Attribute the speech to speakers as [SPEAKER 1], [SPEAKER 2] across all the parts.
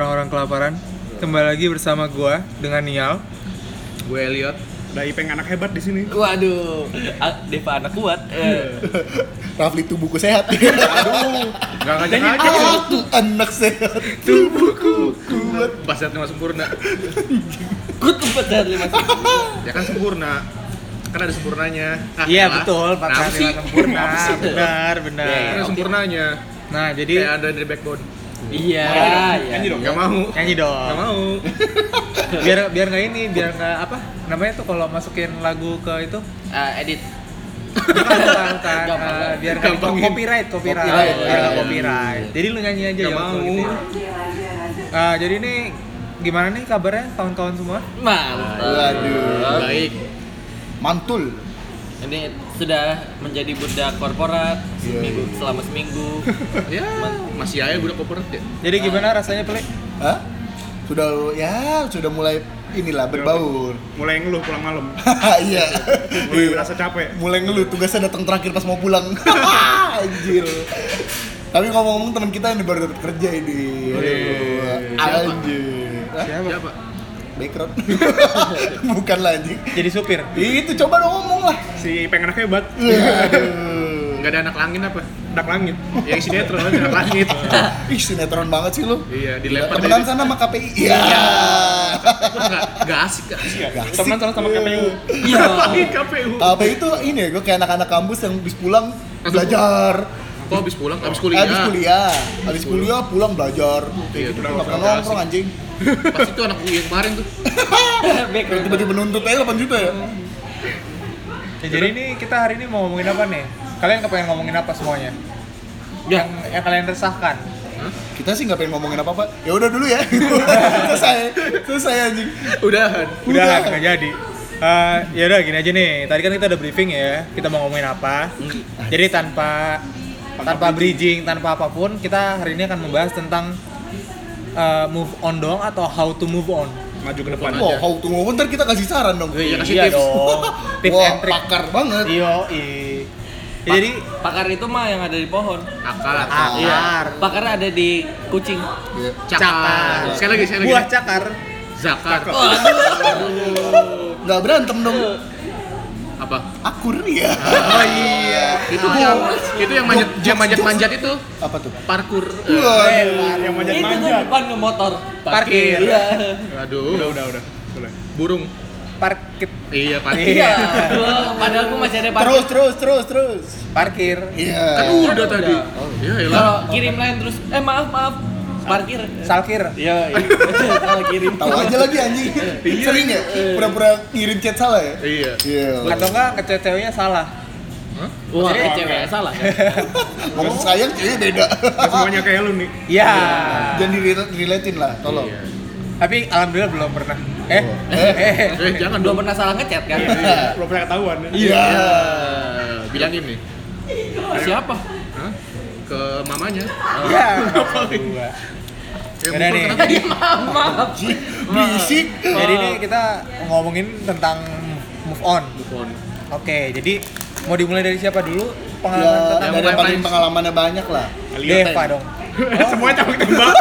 [SPEAKER 1] orang kelaparan. Kembali lagi bersama gua dengan Nial.
[SPEAKER 2] Gue Elliot.
[SPEAKER 3] Daipeng anak hebat di sini.
[SPEAKER 2] Waduh, A- Deva anak kuat. Eh.
[SPEAKER 4] Rafli tubuhku sehat.
[SPEAKER 2] Gak ngajak ngajak.
[SPEAKER 4] Aku anak sehat. Tubuhku kuat.
[SPEAKER 2] Pas sehat lima sempurna.
[SPEAKER 5] Good empat sehat lima sempurna.
[SPEAKER 2] Ya kan sempurna. Kan ada sempurnanya. Ah,
[SPEAKER 1] Iya
[SPEAKER 2] salah.
[SPEAKER 1] betul, Pak
[SPEAKER 2] Kenapa sih?
[SPEAKER 1] sempurna. Benar, benar.
[SPEAKER 5] Iya,
[SPEAKER 2] Kan ada
[SPEAKER 5] oke.
[SPEAKER 2] sempurnanya.
[SPEAKER 1] Nah, jadi
[SPEAKER 2] Kayak ada dari backbone.
[SPEAKER 5] Iya, iya.
[SPEAKER 3] Nyanyi dong.
[SPEAKER 2] Gak mau.
[SPEAKER 1] nyanyi dong.
[SPEAKER 2] Gak mau.
[SPEAKER 1] Biar biar nggak ini, biar nggak apa namanya tuh kalau masukin lagu ke itu
[SPEAKER 5] Ah, edit.
[SPEAKER 1] bukan bukan, bukan.
[SPEAKER 5] Gampang.
[SPEAKER 1] Eh, biar nggak
[SPEAKER 2] Eh, Gampang.
[SPEAKER 1] copyright, copyright,
[SPEAKER 5] Copyright,
[SPEAKER 1] biar nggak
[SPEAKER 5] iya.
[SPEAKER 1] copyright. Jadi lu nyanyi aja
[SPEAKER 2] Nggak
[SPEAKER 1] ya waktu
[SPEAKER 2] mau.
[SPEAKER 1] gitu ya. Ah, jadi ini gimana nih kabarnya kawan-kawan semua?
[SPEAKER 4] Ah,
[SPEAKER 5] Mantap.
[SPEAKER 4] iya. Waduh.
[SPEAKER 5] Baik.
[SPEAKER 4] Mantul.
[SPEAKER 5] Ini sudah menjadi budak korporat
[SPEAKER 4] Iya,
[SPEAKER 5] seminggu
[SPEAKER 4] iya.
[SPEAKER 5] selama seminggu.
[SPEAKER 2] Ya, masih aja budak corporate ya.
[SPEAKER 1] Jadi gimana rasanya pelik?
[SPEAKER 4] Hah? Sudah ya, sudah mulai inilah berbaur.
[SPEAKER 3] Mulai ngeluh pulang malam.
[SPEAKER 4] Iya.
[SPEAKER 3] Mulai merasa capek.
[SPEAKER 4] Mulai ngeluh tugasnya datang terakhir pas mau pulang. Anjir. Tapi ngomong-ngomong teman kita ini baru dapat kerja ini. Aduh, Anjir. Hah?
[SPEAKER 2] Siapa?
[SPEAKER 4] Background. Bukan lah anjing.
[SPEAKER 1] Jadi supir.
[SPEAKER 4] Itu coba dong ngomong lah.
[SPEAKER 3] Si Ipeng anak hebat.
[SPEAKER 4] Aduh.
[SPEAKER 2] Gak ada anak langit apa?
[SPEAKER 3] Dak langit.
[SPEAKER 2] Yang sinetron anak langit.
[SPEAKER 4] Ih sinetron banget sih lu.
[SPEAKER 2] Iya, dilempar
[SPEAKER 4] Temenan
[SPEAKER 2] dari.
[SPEAKER 4] sana sama KPI. Iya.
[SPEAKER 2] Gak, gak asik. gak asik.
[SPEAKER 4] Gak asik.
[SPEAKER 1] Teman-teman sama KPU.
[SPEAKER 5] Iya.
[SPEAKER 2] Ih, KPU.
[SPEAKER 4] KPI itu ini ya, gue kayak anak-anak kampus yang habis pulang
[SPEAKER 2] Langsung
[SPEAKER 4] belajar.
[SPEAKER 2] Kok habis pulang? Habis kuliah.
[SPEAKER 4] Habis kuliah, habis kuliah pulang belajar.
[SPEAKER 2] Iya,
[SPEAKER 4] Kayak gitu
[SPEAKER 2] benar,
[SPEAKER 4] nggak pernah
[SPEAKER 2] benar.
[SPEAKER 4] nongkrong anjing.
[SPEAKER 2] Pasti tuh anak UI yang kemarin tuh.
[SPEAKER 4] Kayak tiba-tiba nuntut aja 8 juta ya.
[SPEAKER 1] Ya, jadi ini kita hari ini mau ngomongin apa nih? Kalian kepengen ngomongin apa semuanya? Yang yang kalian resahkan.
[SPEAKER 4] Kita sih nggak pengen ngomongin apa-apa. Ya udah dulu ya. selesai, selesai anjing.
[SPEAKER 2] Udahan.
[SPEAKER 1] Udah nggak jadi. Eh, ya udah gini aja nih. Tadi kan kita udah briefing ya. Kita mau ngomongin apa? Jadi tanpa tanpa bridging, tanpa apapun, kita hari ini akan membahas tentang eh, move on dong atau how to move on.
[SPEAKER 3] Maju ke depan.
[SPEAKER 4] Oh, how to ngomong ntar kita kasih saran dong.
[SPEAKER 2] Iya, kasih tips.
[SPEAKER 1] dong. Tips
[SPEAKER 4] Wah,
[SPEAKER 1] and trick.
[SPEAKER 4] pakar banget.
[SPEAKER 1] Iya,
[SPEAKER 5] Pa-
[SPEAKER 1] Ya, Jadi iya.
[SPEAKER 5] pakar itu mah yang ada di pohon.
[SPEAKER 2] Akal.
[SPEAKER 1] akar,
[SPEAKER 5] Pakar ada di kucing.
[SPEAKER 4] Iya.
[SPEAKER 2] Cakar. Sekali lagi, sekali lagi.
[SPEAKER 1] buah cakar.
[SPEAKER 2] Zakar.
[SPEAKER 4] Nggak berantem dong.
[SPEAKER 2] Apa?
[SPEAKER 4] Akur ya.
[SPEAKER 1] Oh iya.
[SPEAKER 2] Itu yang itu yang manjat
[SPEAKER 4] Jokes,
[SPEAKER 2] yang manjat
[SPEAKER 4] jokes.
[SPEAKER 2] manjat itu
[SPEAKER 4] Apa tuh?
[SPEAKER 2] parkur. eh,
[SPEAKER 1] Eh,
[SPEAKER 4] Waduh.
[SPEAKER 3] Yang
[SPEAKER 5] Itu tuh
[SPEAKER 3] manjat-manjat.
[SPEAKER 5] depan ke motor.
[SPEAKER 1] Parkir.
[SPEAKER 5] Iya.
[SPEAKER 3] Udah,
[SPEAKER 2] Aduh,
[SPEAKER 3] udah, udah. Boleh.
[SPEAKER 2] burung.
[SPEAKER 1] Parkir,
[SPEAKER 2] Iya, parkir.
[SPEAKER 5] Iya. Padahal aku masih ada parkir.
[SPEAKER 4] Terus, terus, terus, terus.
[SPEAKER 1] parkir.
[SPEAKER 4] Iya.
[SPEAKER 2] Kan udah tadi. Ya
[SPEAKER 5] Kalau
[SPEAKER 2] elah.
[SPEAKER 5] kirim lain terus, eh maaf maaf, parkir.
[SPEAKER 1] Salkir.
[SPEAKER 5] Iya, iya. Salah kirim.
[SPEAKER 4] Tahu aja lagi anjing.
[SPEAKER 2] Eh,
[SPEAKER 4] Sering ya? Pura-pura ngirim chat salah ya?
[SPEAKER 2] Iya.
[SPEAKER 4] Iya.
[SPEAKER 1] Atau enggak kecewa-cewanya salah.
[SPEAKER 5] Wah,
[SPEAKER 1] Jadi-
[SPEAKER 5] cewek salah. kan?
[SPEAKER 4] Ngomong sayang kayaknya beda.
[SPEAKER 3] Nggak semuanya kayak lu nih.
[SPEAKER 1] Iya.
[SPEAKER 4] Jangan direlatin lah, tolong.
[SPEAKER 2] Iya.
[SPEAKER 1] Tapi alhamdulillah belum pernah.
[SPEAKER 3] Oh.
[SPEAKER 1] Eh.
[SPEAKER 4] Eh.
[SPEAKER 1] Eh.
[SPEAKER 2] Eh, jangan
[SPEAKER 5] Belum
[SPEAKER 2] dong.
[SPEAKER 5] pernah salah ngechat kan?
[SPEAKER 3] Belum pernah ketahuan. ya.
[SPEAKER 4] Iya.
[SPEAKER 2] Eh, Bilangin nih.
[SPEAKER 5] Siapa?
[SPEAKER 2] Hah? Ke mamanya.
[SPEAKER 1] Iya. Dua.
[SPEAKER 2] Ya,
[SPEAKER 1] Udah
[SPEAKER 2] mukul
[SPEAKER 1] nih.
[SPEAKER 2] kenapa?
[SPEAKER 5] Tadi maaf, maaf.
[SPEAKER 4] Berisik.
[SPEAKER 2] Iya.
[SPEAKER 1] Jadi ini
[SPEAKER 3] Oh.
[SPEAKER 1] kita ngomongin tentang move on.
[SPEAKER 2] Buffon.
[SPEAKER 1] Oke, jadi mau dimulai dari siapa dulu? Pengalaman
[SPEAKER 4] Ya,
[SPEAKER 1] tentang
[SPEAKER 4] dari yang paling pengalamannya banyak lah.
[SPEAKER 3] Aliot.
[SPEAKER 1] Deva dong.
[SPEAKER 3] Semuanya tembak tembak.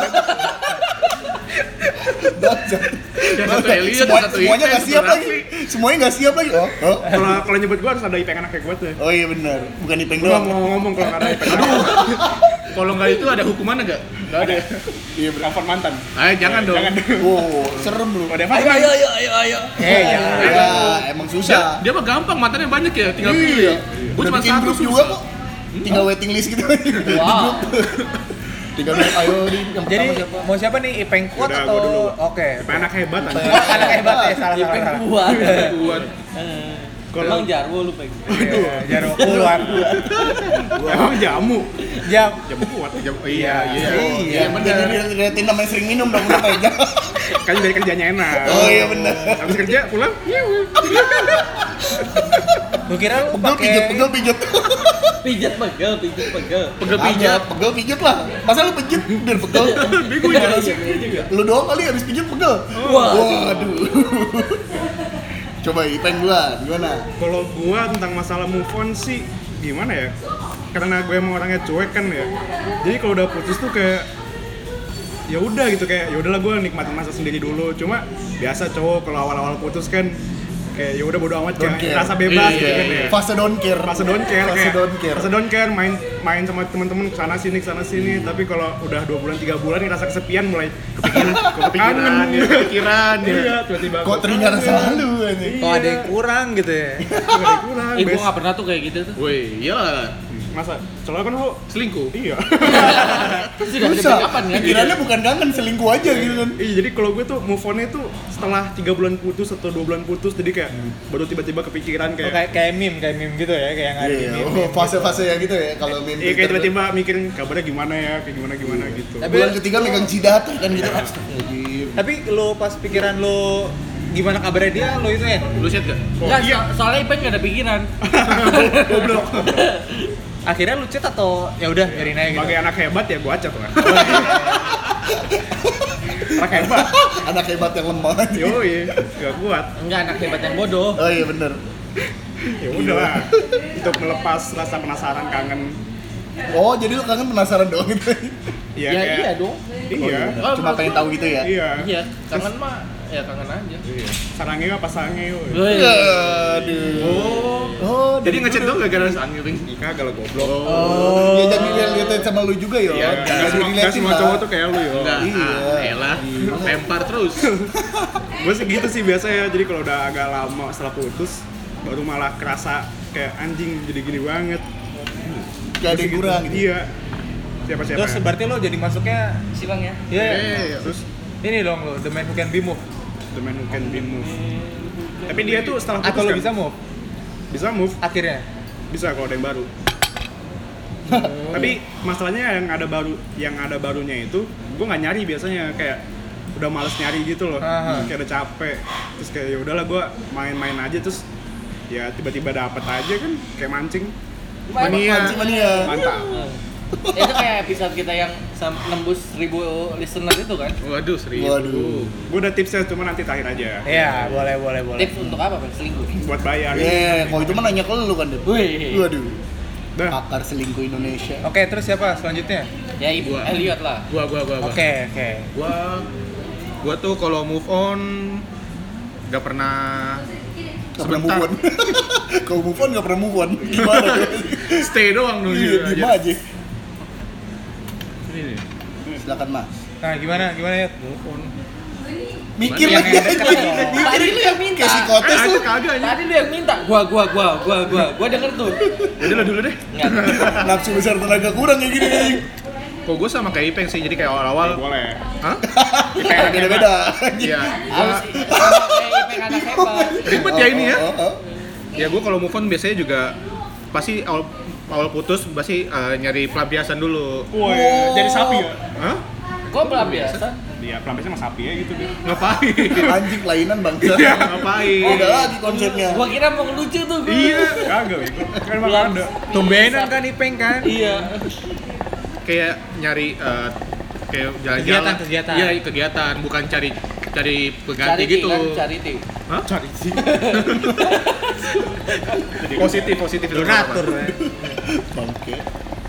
[SPEAKER 4] Bacot.
[SPEAKER 2] Yang satu Elliot, yang
[SPEAKER 4] Semua-
[SPEAKER 2] satu
[SPEAKER 4] Semuanya
[SPEAKER 2] Ipe,
[SPEAKER 4] nggak
[SPEAKER 2] satu
[SPEAKER 4] siap lagi.
[SPEAKER 2] Rafli.
[SPEAKER 4] Semuanya nggak siap lagi. Oh, oh.
[SPEAKER 3] Kalau kalau nyebut gua harus ada Ipeng anak hebat ya.
[SPEAKER 4] Oh iya benar, bukan Ipeng
[SPEAKER 3] Gua
[SPEAKER 4] doang.
[SPEAKER 3] mau ngomong kalau nggak ada Ipeng. Aduh,
[SPEAKER 2] Kalau nggak itu ada hukumannya nggak?
[SPEAKER 3] nggak ada. Iya, telepon mantan.
[SPEAKER 2] Eh, jangan dong.
[SPEAKER 3] Jangan.
[SPEAKER 4] Wow, serem lu.
[SPEAKER 3] Kalau Deva
[SPEAKER 5] Ayo,
[SPEAKER 3] gimana?
[SPEAKER 5] ayo, ayo, ayo, ayo.
[SPEAKER 1] Eh,
[SPEAKER 2] Iya.
[SPEAKER 1] ya.
[SPEAKER 4] Ya, emang
[SPEAKER 2] Dia,
[SPEAKER 4] susah.
[SPEAKER 2] dia mah gampang, mantannya banyak ya, tinggal
[SPEAKER 4] Iya.
[SPEAKER 2] pilih. Gua
[SPEAKER 4] Udah
[SPEAKER 2] cuma
[SPEAKER 4] bikin
[SPEAKER 2] satu
[SPEAKER 4] grup juga kok. Tinggal waiting list gitu. Di grup. Tinggal bilang, ayo di yang
[SPEAKER 1] Jadi
[SPEAKER 4] pertama siapa?
[SPEAKER 1] mau siapa nih? Ipeng kuat
[SPEAKER 3] Yaudah,
[SPEAKER 1] atau
[SPEAKER 3] gua dulu.
[SPEAKER 1] oke?
[SPEAKER 3] Ipeng anak hebat anjing.
[SPEAKER 1] Wah, anak hebat ya, salah salah.
[SPEAKER 5] Ipeng
[SPEAKER 1] salah.
[SPEAKER 5] kuat.
[SPEAKER 2] Buat
[SPEAKER 5] Eh,
[SPEAKER 3] Kalau-
[SPEAKER 5] Emang jarwo lu pengen.
[SPEAKER 1] Iya, jarum kuat.
[SPEAKER 3] Emang jamu.
[SPEAKER 1] Jam.
[SPEAKER 3] Jamu kuat.
[SPEAKER 2] Ya, iya, iya.
[SPEAKER 1] Iya,
[SPEAKER 2] Iya,
[SPEAKER 4] Jadi
[SPEAKER 2] benar.
[SPEAKER 4] dilihatin namanya sering minum dong udah pegang.
[SPEAKER 3] Kan dari kerjanya enak.
[SPEAKER 4] Oh iya benar.
[SPEAKER 3] Habis kerja pulang.
[SPEAKER 1] Gua kira lu
[SPEAKER 4] Pegel
[SPEAKER 1] pakai
[SPEAKER 4] pijat, pegel pijat.
[SPEAKER 5] Pijat pegel, pijat pegel.
[SPEAKER 2] Pegel
[SPEAKER 4] Pijat,
[SPEAKER 2] pijat.
[SPEAKER 4] pegel pijat lah. Masa lu pijat biar pegel?
[SPEAKER 3] Bingung ya.
[SPEAKER 5] Iya,
[SPEAKER 4] Lu doang kali habis pijat pegel.
[SPEAKER 5] Waduh.
[SPEAKER 4] Waduh. Coba Ipeng duluan, gimana?
[SPEAKER 3] Kalau gua tentang masalah move on sih gimana ya? Karena gue emang orangnya cuek kan ya. Jadi kalau udah putus tuh kayak ya udah gitu kayak ya udahlah gue nikmatin masa sendiri dulu cuma biasa cowok kalau awal-awal putus kan kayak ya udah bodo amat
[SPEAKER 4] Don't
[SPEAKER 3] kayak
[SPEAKER 4] care.
[SPEAKER 3] rasa bebas
[SPEAKER 2] Iya,
[SPEAKER 3] gitu kan
[SPEAKER 2] iya,
[SPEAKER 3] ya
[SPEAKER 4] Fase don't care.
[SPEAKER 3] rasa don't care
[SPEAKER 4] Fase
[SPEAKER 3] kayak
[SPEAKER 4] don't care.
[SPEAKER 3] rasa don't care main main sama temen-temen kesana sini kesana sini tapi kalau udah dua bulan tiga bulan nih rasa kesepian mulai kepikiran
[SPEAKER 2] Kepikiran, ya, kepikiran ya.
[SPEAKER 3] iya tiba-tiba Iya.
[SPEAKER 4] Kok teringat selalu ini.
[SPEAKER 1] Kok ada yang kurang gitu ya?
[SPEAKER 3] kurang
[SPEAKER 5] Eh, gue
[SPEAKER 3] bes-
[SPEAKER 5] gak pernah tuh kayak gitu tuh.
[SPEAKER 2] Woi, iyalah
[SPEAKER 3] masa celah kan lu
[SPEAKER 2] selingkuh.
[SPEAKER 3] iya
[SPEAKER 5] Terus udah bisa
[SPEAKER 4] Susah.
[SPEAKER 5] kapan kan?
[SPEAKER 4] Pikirannya bukan kangen selingkuh aja gitu kan.
[SPEAKER 3] Iya jadi kalau gue tuh move onnya tuh setelah tiga bulan putus atau dua bulan putus jadi kayak
[SPEAKER 4] Hmm.
[SPEAKER 3] baru tiba-tiba
[SPEAKER 1] Oh,
[SPEAKER 3] kepikiran kayak
[SPEAKER 1] kayak kayak meme, kayak meme gitu ya, kayak yang ada di
[SPEAKER 4] Iya,
[SPEAKER 1] meme.
[SPEAKER 4] oh, fase-fase yang gitu ya kalau mimpi.
[SPEAKER 3] Iya kayak tiba-tiba mikirin kabarnya gimana ya, kayak gimana gimana
[SPEAKER 4] Iya.
[SPEAKER 3] gitu.
[SPEAKER 1] Tapi-
[SPEAKER 4] bulan ketiga megang cidata kan gitu. Astagfirullahaladzim.
[SPEAKER 1] Tapi lo pas pikiran lo gimana kabarnya dia, lo itu ya?
[SPEAKER 2] Lu chat gak?
[SPEAKER 5] Enggak, so- soalnya Ipen gak ada pikiran.
[SPEAKER 1] Akhirnya lu chat atau ya udah biarin aja gitu.
[SPEAKER 3] Sebagai anak hebat ya gue acak lah. anak hebat,
[SPEAKER 4] Anak hebat yang lemah.
[SPEAKER 3] yo gak kuat.
[SPEAKER 5] Enggak, anak hebat yang bodoh.
[SPEAKER 4] Oh iya bener.
[SPEAKER 3] Ya udah lah. untuk melepas rasa penasaran kangen.
[SPEAKER 4] Oh jadi lu kangen penasaran doang gitu.
[SPEAKER 3] Iya
[SPEAKER 5] ya
[SPEAKER 3] kayak
[SPEAKER 5] iya dong.
[SPEAKER 3] iya
[SPEAKER 5] Oh,
[SPEAKER 4] Cuma
[SPEAKER 5] maksud-
[SPEAKER 4] pengen tahu gitu ya.
[SPEAKER 3] iya.
[SPEAKER 5] Iya, kangen mah ya kangen aja. Iya.
[SPEAKER 3] Sarangnya apa pasangnya yo.
[SPEAKER 5] Woi.
[SPEAKER 4] Aduh.
[SPEAKER 2] Oh,
[SPEAKER 4] Oh,
[SPEAKER 2] jadi ngechat dong gak gara-gara angin
[SPEAKER 3] Kagak lo goblok.
[SPEAKER 4] Oh, ya jadi liatin sama lu juga ya.
[SPEAKER 3] Iya,
[SPEAKER 4] jadi
[SPEAKER 3] gak semua, gak
[SPEAKER 4] related
[SPEAKER 3] semua
[SPEAKER 4] lah.
[SPEAKER 3] cowok tuh kayak lu yo.
[SPEAKER 2] Enggak,
[SPEAKER 4] iya.
[SPEAKER 2] ah, elah, lempar terus.
[SPEAKER 3] gue sih gitu sih biasanya jadi kalau udah agak lama setelah putus baru malah kerasa kayak anjing jadi gini banget
[SPEAKER 4] Gak ada
[SPEAKER 3] Terus
[SPEAKER 4] yang
[SPEAKER 3] gitu,
[SPEAKER 4] kurang gitu.
[SPEAKER 3] iya siapa siapa
[SPEAKER 1] Terus berarti lo jadi masuknya
[SPEAKER 5] Silang ya.
[SPEAKER 1] ya
[SPEAKER 2] Eh,
[SPEAKER 3] terus
[SPEAKER 1] ini dong lo the man who can be moved.
[SPEAKER 3] the man who can be moved tapi dia tuh setelah putus
[SPEAKER 1] Atau lo
[SPEAKER 3] kan,
[SPEAKER 1] bisa move
[SPEAKER 3] bisa move
[SPEAKER 1] akhirnya.
[SPEAKER 3] bisa kalau ada yang baru
[SPEAKER 1] Oh.
[SPEAKER 3] tapi masalahnya yang ada baru yang ada barunya itu gue nggak nyari biasanya kayak udah males nyari gitu loh
[SPEAKER 1] Aha.
[SPEAKER 3] kayak udah capek terus kayak ya udahlah gue main-main aja terus ya tiba-tiba dapet aja kan kayak mancing
[SPEAKER 4] Mania. Mania.
[SPEAKER 3] mantap
[SPEAKER 5] ya? Eh, itu kayak episode kita yang sam- nembus 1000 listener itu kan.
[SPEAKER 2] Waduh, serius.
[SPEAKER 4] Waduh.
[SPEAKER 3] Gue udah tipsnya, cuma nanti terakhir aja
[SPEAKER 1] Iya, boleh boleh boleh.
[SPEAKER 5] Tips untuk apa, Pak? Selingkuh.
[SPEAKER 3] Buat bayar
[SPEAKER 4] Eh, kalau itu mah nanya ke lu kan, Dep.
[SPEAKER 5] Wih.
[SPEAKER 4] Waduh.
[SPEAKER 3] Dah,
[SPEAKER 4] Pakar selingkuh Indonesia.
[SPEAKER 1] Oke, terus siapa selanjutnya?
[SPEAKER 5] Ya Ibu
[SPEAKER 2] Gua.
[SPEAKER 5] Elliot lah.
[SPEAKER 2] Gua, gua, gua, gua.
[SPEAKER 1] Oke, oke.
[SPEAKER 2] Gua, gua tuh kalau move on gak pernah
[SPEAKER 4] Gak pernah move on. Kalau move on gak pernah move on. Gimana?
[SPEAKER 2] stay doang
[SPEAKER 3] Oh,
[SPEAKER 2] dulu. aja.
[SPEAKER 4] Iya, diem aja.
[SPEAKER 2] Ini nih,
[SPEAKER 4] Silakan, Mas.
[SPEAKER 1] Nah, gimana gimana ya?
[SPEAKER 2] move on.
[SPEAKER 4] Mikir
[SPEAKER 2] Iya,
[SPEAKER 1] Yang
[SPEAKER 4] lagi.
[SPEAKER 1] dekat dong.
[SPEAKER 5] Tadi lu yang minta.
[SPEAKER 4] Kayak psikotes
[SPEAKER 2] Ah,
[SPEAKER 4] lu.
[SPEAKER 2] itu kagak aja.
[SPEAKER 5] Tadi lu yang minta. Gua gua gua gua gua gua denger tuh.
[SPEAKER 2] Jadi lo Ya dulu deh.
[SPEAKER 5] Enggak.
[SPEAKER 4] Nafsu besar tenaga kurang kayak
[SPEAKER 2] Iya,
[SPEAKER 4] gini. anjing.
[SPEAKER 2] Kok gua sama kayak Ipeng sih, jadi kayak awal-awal.
[SPEAKER 3] boleh
[SPEAKER 2] Hah?
[SPEAKER 4] Beda-beda.
[SPEAKER 2] Iya.
[SPEAKER 5] Harus sama kayak Ipeng anak hebat.
[SPEAKER 2] Ribet ya ini ya.
[SPEAKER 4] Oh, oh, oh.
[SPEAKER 2] Ya gue kalau move on biasanya juga pasti awal awal putus pasti eh, nyari pelampiasan dulu.
[SPEAKER 3] Woi,
[SPEAKER 1] Oh.
[SPEAKER 3] jadi sapi ya?
[SPEAKER 2] Hah?
[SPEAKER 5] Gua belum biasa.
[SPEAKER 3] Iya, pelampasnya sama sapi ya gitu dia
[SPEAKER 2] Ngapain?
[SPEAKER 4] Anjing lainan bangsa.
[SPEAKER 2] Iya. Ngapain?
[SPEAKER 4] Beda lagi konsepnya.
[SPEAKER 5] Gua kira mau lucu tuh gua.
[SPEAKER 3] Iya, kagak Bego. Kan emang
[SPEAKER 5] Belum.
[SPEAKER 3] ada
[SPEAKER 1] Tumbenan kan Ipeng kan?
[SPEAKER 5] Iya.
[SPEAKER 2] Kayak nyari eh, kayak jalan-jalan.
[SPEAKER 1] Kegiatan, kegiatan.
[SPEAKER 2] Iya, kegiatan, bukan cari cari pengganti
[SPEAKER 5] Cari
[SPEAKER 2] gitu.
[SPEAKER 5] gitu. Cari tim.
[SPEAKER 2] Hah?
[SPEAKER 3] Cari sih
[SPEAKER 2] Positif, positif itu
[SPEAKER 1] Donatur.
[SPEAKER 2] apa-apa.
[SPEAKER 1] ya.
[SPEAKER 4] Bangke.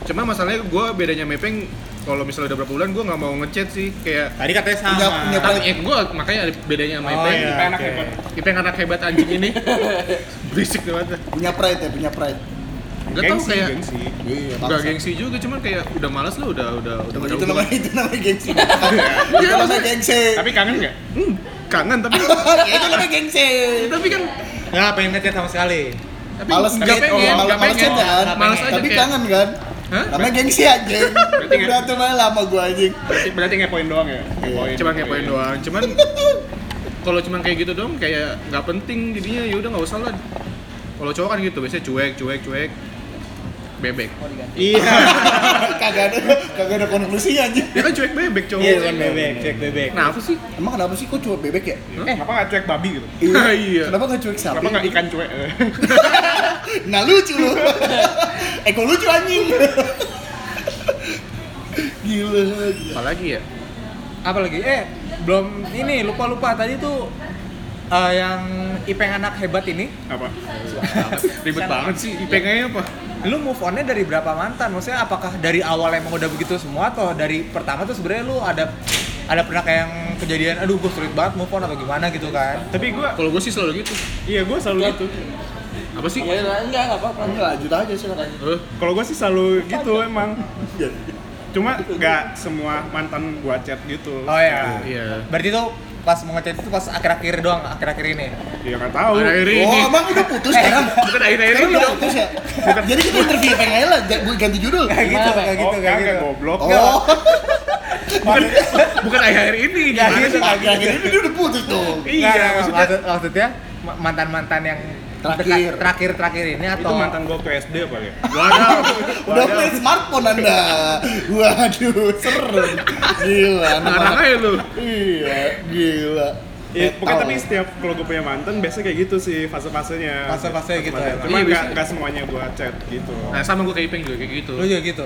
[SPEAKER 2] Cuma masalahnya gue bedanya Mepeng kalau misalnya udah berapa bulan gue nggak mau ngechat sih kayak
[SPEAKER 1] Tadi katanya sama.
[SPEAKER 4] Punya- punya
[SPEAKER 2] tapi eh, gue makanya ada bedanya sama
[SPEAKER 1] Oh,
[SPEAKER 2] Ipeng.
[SPEAKER 1] iya,
[SPEAKER 2] Ipeng anak
[SPEAKER 3] ya,
[SPEAKER 1] oke.
[SPEAKER 2] hebat. Ipeng anak hebat anjing ini. Berisik banget.
[SPEAKER 4] Punya pride ya, punya pride.
[SPEAKER 2] Gak tau
[SPEAKER 3] Gengsi,
[SPEAKER 2] kayak
[SPEAKER 3] gengsi
[SPEAKER 4] Iya,
[SPEAKER 2] Gak gengsi juga, cuman kayak udah males lu udah udah udah
[SPEAKER 4] Itu
[SPEAKER 2] gak ada
[SPEAKER 4] itu
[SPEAKER 2] hubungan.
[SPEAKER 4] namanya itu namanya gengsi.
[SPEAKER 2] Iya.
[SPEAKER 4] Itu namanya gengsi. Ah,
[SPEAKER 3] Tapi kangen nggak?
[SPEAKER 2] Hmm, kangen tapi
[SPEAKER 4] Itu namanya gengsi.
[SPEAKER 2] tapi kan
[SPEAKER 1] Nggak Ya, pengen ngechat sama sekali.
[SPEAKER 2] tapi
[SPEAKER 4] Males
[SPEAKER 2] nggak
[SPEAKER 4] ngechat,
[SPEAKER 2] pengen,
[SPEAKER 4] oh,
[SPEAKER 2] nggak
[SPEAKER 4] males
[SPEAKER 2] pengen.
[SPEAKER 4] ngechat kan?
[SPEAKER 2] Males aja
[SPEAKER 4] Tapi
[SPEAKER 2] kayak-
[SPEAKER 4] kangen kan?
[SPEAKER 2] Hah?
[SPEAKER 4] Namanya gengsi anjing.
[SPEAKER 3] nggak-
[SPEAKER 4] Berantem aja lama gua anjing.
[SPEAKER 3] Berarti, berarti ngepoin doang ya? Ngepoin
[SPEAKER 2] Cuman ngepoin doang, cuman kalau cuman kayak gitu doang kayak nggak penting jadinya ya udah nggak usah lah. Kalau cowok kan gitu biasanya cuek cuek cuek bebek.
[SPEAKER 1] Iya.
[SPEAKER 4] Kagak ada kagak ada konklusinya anjing.
[SPEAKER 2] Ya kan cuek bebek cowok.
[SPEAKER 1] Iya, cuek bebek, cuek bebek.
[SPEAKER 2] Nah apa sih?
[SPEAKER 4] Emang kenapa sih kok cuek bebek ya?
[SPEAKER 3] Eh, kenapa nggak cuek babi gitu?
[SPEAKER 2] Iya.
[SPEAKER 4] Kenapa gak cuek
[SPEAKER 3] Kenapa
[SPEAKER 4] sapi?
[SPEAKER 3] nggak ikan cuek? Eh,
[SPEAKER 4] Nah lucu lu. Eko lucu anjing. Gila.
[SPEAKER 2] Apalagi ya?
[SPEAKER 1] Apalagi eh belum ini lupa-lupa tadi tuh eh, yang Ipeng anak hebat ini
[SPEAKER 3] Apa?
[SPEAKER 2] Ribet banget sih. IPK-nya apa?
[SPEAKER 1] lu move onnya dari berapa mantan? Maksudnya apakah dari awal emang udah begitu semua atau dari pertama tuh sebenarnya lu ada ada pernah kayak yang kejadian aduh gue sulit banget move on atau gimana gitu kan
[SPEAKER 3] tapi gue
[SPEAKER 2] Kalau gue sih selalu gitu.
[SPEAKER 3] iya gue selalu gitu
[SPEAKER 2] Apa sih?
[SPEAKER 5] Ya, enggak, enggak apa-apa.
[SPEAKER 4] Ini lanjut aja silakan.
[SPEAKER 2] Eh,
[SPEAKER 3] kalau gue sih selalu gitu emang
[SPEAKER 4] Iya.
[SPEAKER 3] cuma nggak semua mantan gue chat gitu
[SPEAKER 1] oh ya
[SPEAKER 2] Iya.
[SPEAKER 1] berarti tuh pas mau ngechat itu pas akhir-akhir doang akhir-akhir ini
[SPEAKER 3] ya nggak tahu
[SPEAKER 2] Akhir-akhir ini.
[SPEAKER 4] Oh, emang udah putus sekarang?
[SPEAKER 2] Bukan akhir-akhir
[SPEAKER 4] Sekarang
[SPEAKER 2] ini
[SPEAKER 4] udah
[SPEAKER 2] dong.
[SPEAKER 4] putus ya? Jadi kita interview pengen aja lah, ja- bu- ganti judul.
[SPEAKER 1] kayak gitu
[SPEAKER 5] Pak?
[SPEAKER 1] kayak
[SPEAKER 3] oh
[SPEAKER 1] gitu kayak
[SPEAKER 3] kagak
[SPEAKER 1] gitu
[SPEAKER 3] goblok
[SPEAKER 4] Oh,
[SPEAKER 2] Bukan, bukan akhir-akhir ini.
[SPEAKER 1] Ya, gitu, kayak
[SPEAKER 2] Gimana sih?
[SPEAKER 1] gitu.
[SPEAKER 4] Nah, akhir-akhir ini dia udah putus dong.
[SPEAKER 1] Nggak, nggak,
[SPEAKER 2] Iya, maksudnya
[SPEAKER 1] maksud- maksudnya ma- mantan-mantan yang
[SPEAKER 4] Terakhir.
[SPEAKER 1] terakhir terakhir ini atau
[SPEAKER 3] itu mantan gue ke SD apa ya
[SPEAKER 2] Waduh.
[SPEAKER 4] Udah main smartphone anda. Waduh, serem. Gila,
[SPEAKER 2] Ngarang
[SPEAKER 4] anak-anak.
[SPEAKER 2] aja lu.
[SPEAKER 4] Iya, gila. Eh,
[SPEAKER 3] Iya, pokoknya
[SPEAKER 4] Metal.
[SPEAKER 3] tapi setiap kalau gue punya mantan biasanya kayak gitu sih fase-fasenya.
[SPEAKER 1] Fase-fase gitu
[SPEAKER 3] Fase-fase. ya.
[SPEAKER 1] emang.
[SPEAKER 2] Iya,
[SPEAKER 3] Cuma nggak
[SPEAKER 2] biasanya.
[SPEAKER 3] nggak semuanya gue chat gitu.
[SPEAKER 2] Nah, sama gue kayak Ipeng juga kayak gitu.
[SPEAKER 1] lu juga gitu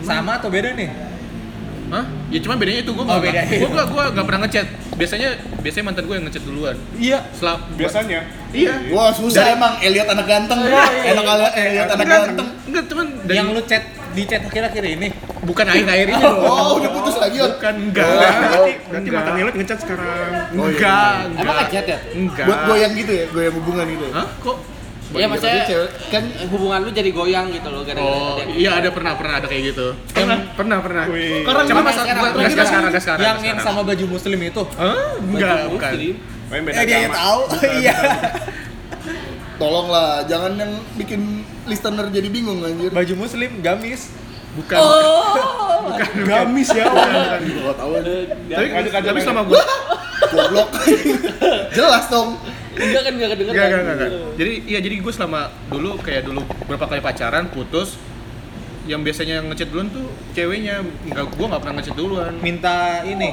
[SPEAKER 1] sama atau beda nih
[SPEAKER 2] Hah? Ya cuma bedanya itu gue
[SPEAKER 1] Oh, bedanya.
[SPEAKER 2] Gue gak, gue gak pernah ngechat. Biasanya biasanya mantan gue yang ngechat duluan.
[SPEAKER 1] iya
[SPEAKER 2] Setelah
[SPEAKER 3] Biasanya.
[SPEAKER 2] Iya.
[SPEAKER 4] Wah, susah emang Elliot anak ganteng. Enak kali eh, Elliot anak
[SPEAKER 2] Enggak,
[SPEAKER 4] ganteng.
[SPEAKER 2] enggak, cuman dari
[SPEAKER 1] yang lu chat di chat akhir-akhir ini
[SPEAKER 2] bukan akhir-akhir ini dong. Kan
[SPEAKER 4] Oh, udah putus lagi, Yot.
[SPEAKER 2] Bukan enggak.
[SPEAKER 4] Oh,
[SPEAKER 3] iya, Berarti,
[SPEAKER 2] Enggak.
[SPEAKER 3] berarti mantan Elliot ngechat sekarang.
[SPEAKER 4] Oh, iya.
[SPEAKER 2] Enggak,
[SPEAKER 5] Emang ngechat ya?
[SPEAKER 2] Enggak.
[SPEAKER 4] Buat goyang gitu ya, goyang hubungan gitu ya.
[SPEAKER 2] Hah? Kok?
[SPEAKER 5] Iya,
[SPEAKER 4] Bagi
[SPEAKER 5] maksudnya
[SPEAKER 4] cewek, kan
[SPEAKER 5] hubungan lu jadi goyang gitu loh gara-gara
[SPEAKER 2] Oh,
[SPEAKER 5] ada yang-
[SPEAKER 2] iya ada pernah pernah ada kayak gitu. Pernah, pernah, pernah.
[SPEAKER 3] Wih.
[SPEAKER 2] Karena
[SPEAKER 4] Sekarang
[SPEAKER 2] cuma
[SPEAKER 4] gimana
[SPEAKER 2] pas
[SPEAKER 4] sekarang?
[SPEAKER 2] sekarang, enggak
[SPEAKER 4] Sekarang
[SPEAKER 2] sekarang, enggak sekarang.
[SPEAKER 1] yang
[SPEAKER 2] enggak
[SPEAKER 1] yang
[SPEAKER 2] sekarang.
[SPEAKER 1] sama baju muslim itu
[SPEAKER 2] Hah? Enggak,
[SPEAKER 5] Baju
[SPEAKER 2] bukan.
[SPEAKER 5] muslim. kan,
[SPEAKER 3] Main beda
[SPEAKER 1] eh dia
[SPEAKER 3] agama.
[SPEAKER 1] tahu iya
[SPEAKER 4] tolonglah jangan yang bikin listener jadi bingung anjir.
[SPEAKER 1] baju muslim gamis
[SPEAKER 2] Bukan.
[SPEAKER 1] gamis ya
[SPEAKER 4] Gua tahu aja.
[SPEAKER 2] Tapi
[SPEAKER 3] Lanjut, lanjut,
[SPEAKER 2] tapi
[SPEAKER 3] lanjut.
[SPEAKER 2] sama gue
[SPEAKER 4] Goblok. Jelas dong.
[SPEAKER 5] Enggak kan enggak kedengeran.
[SPEAKER 2] Enggak, enggak, enggak, enggak. Jadi iya jadi gue selama dulu kayak dulu berapa kali pacaran putus yang biasanya ngechat duluan tuh ceweknya enggak gue nggak pernah ngechat duluan
[SPEAKER 1] minta ini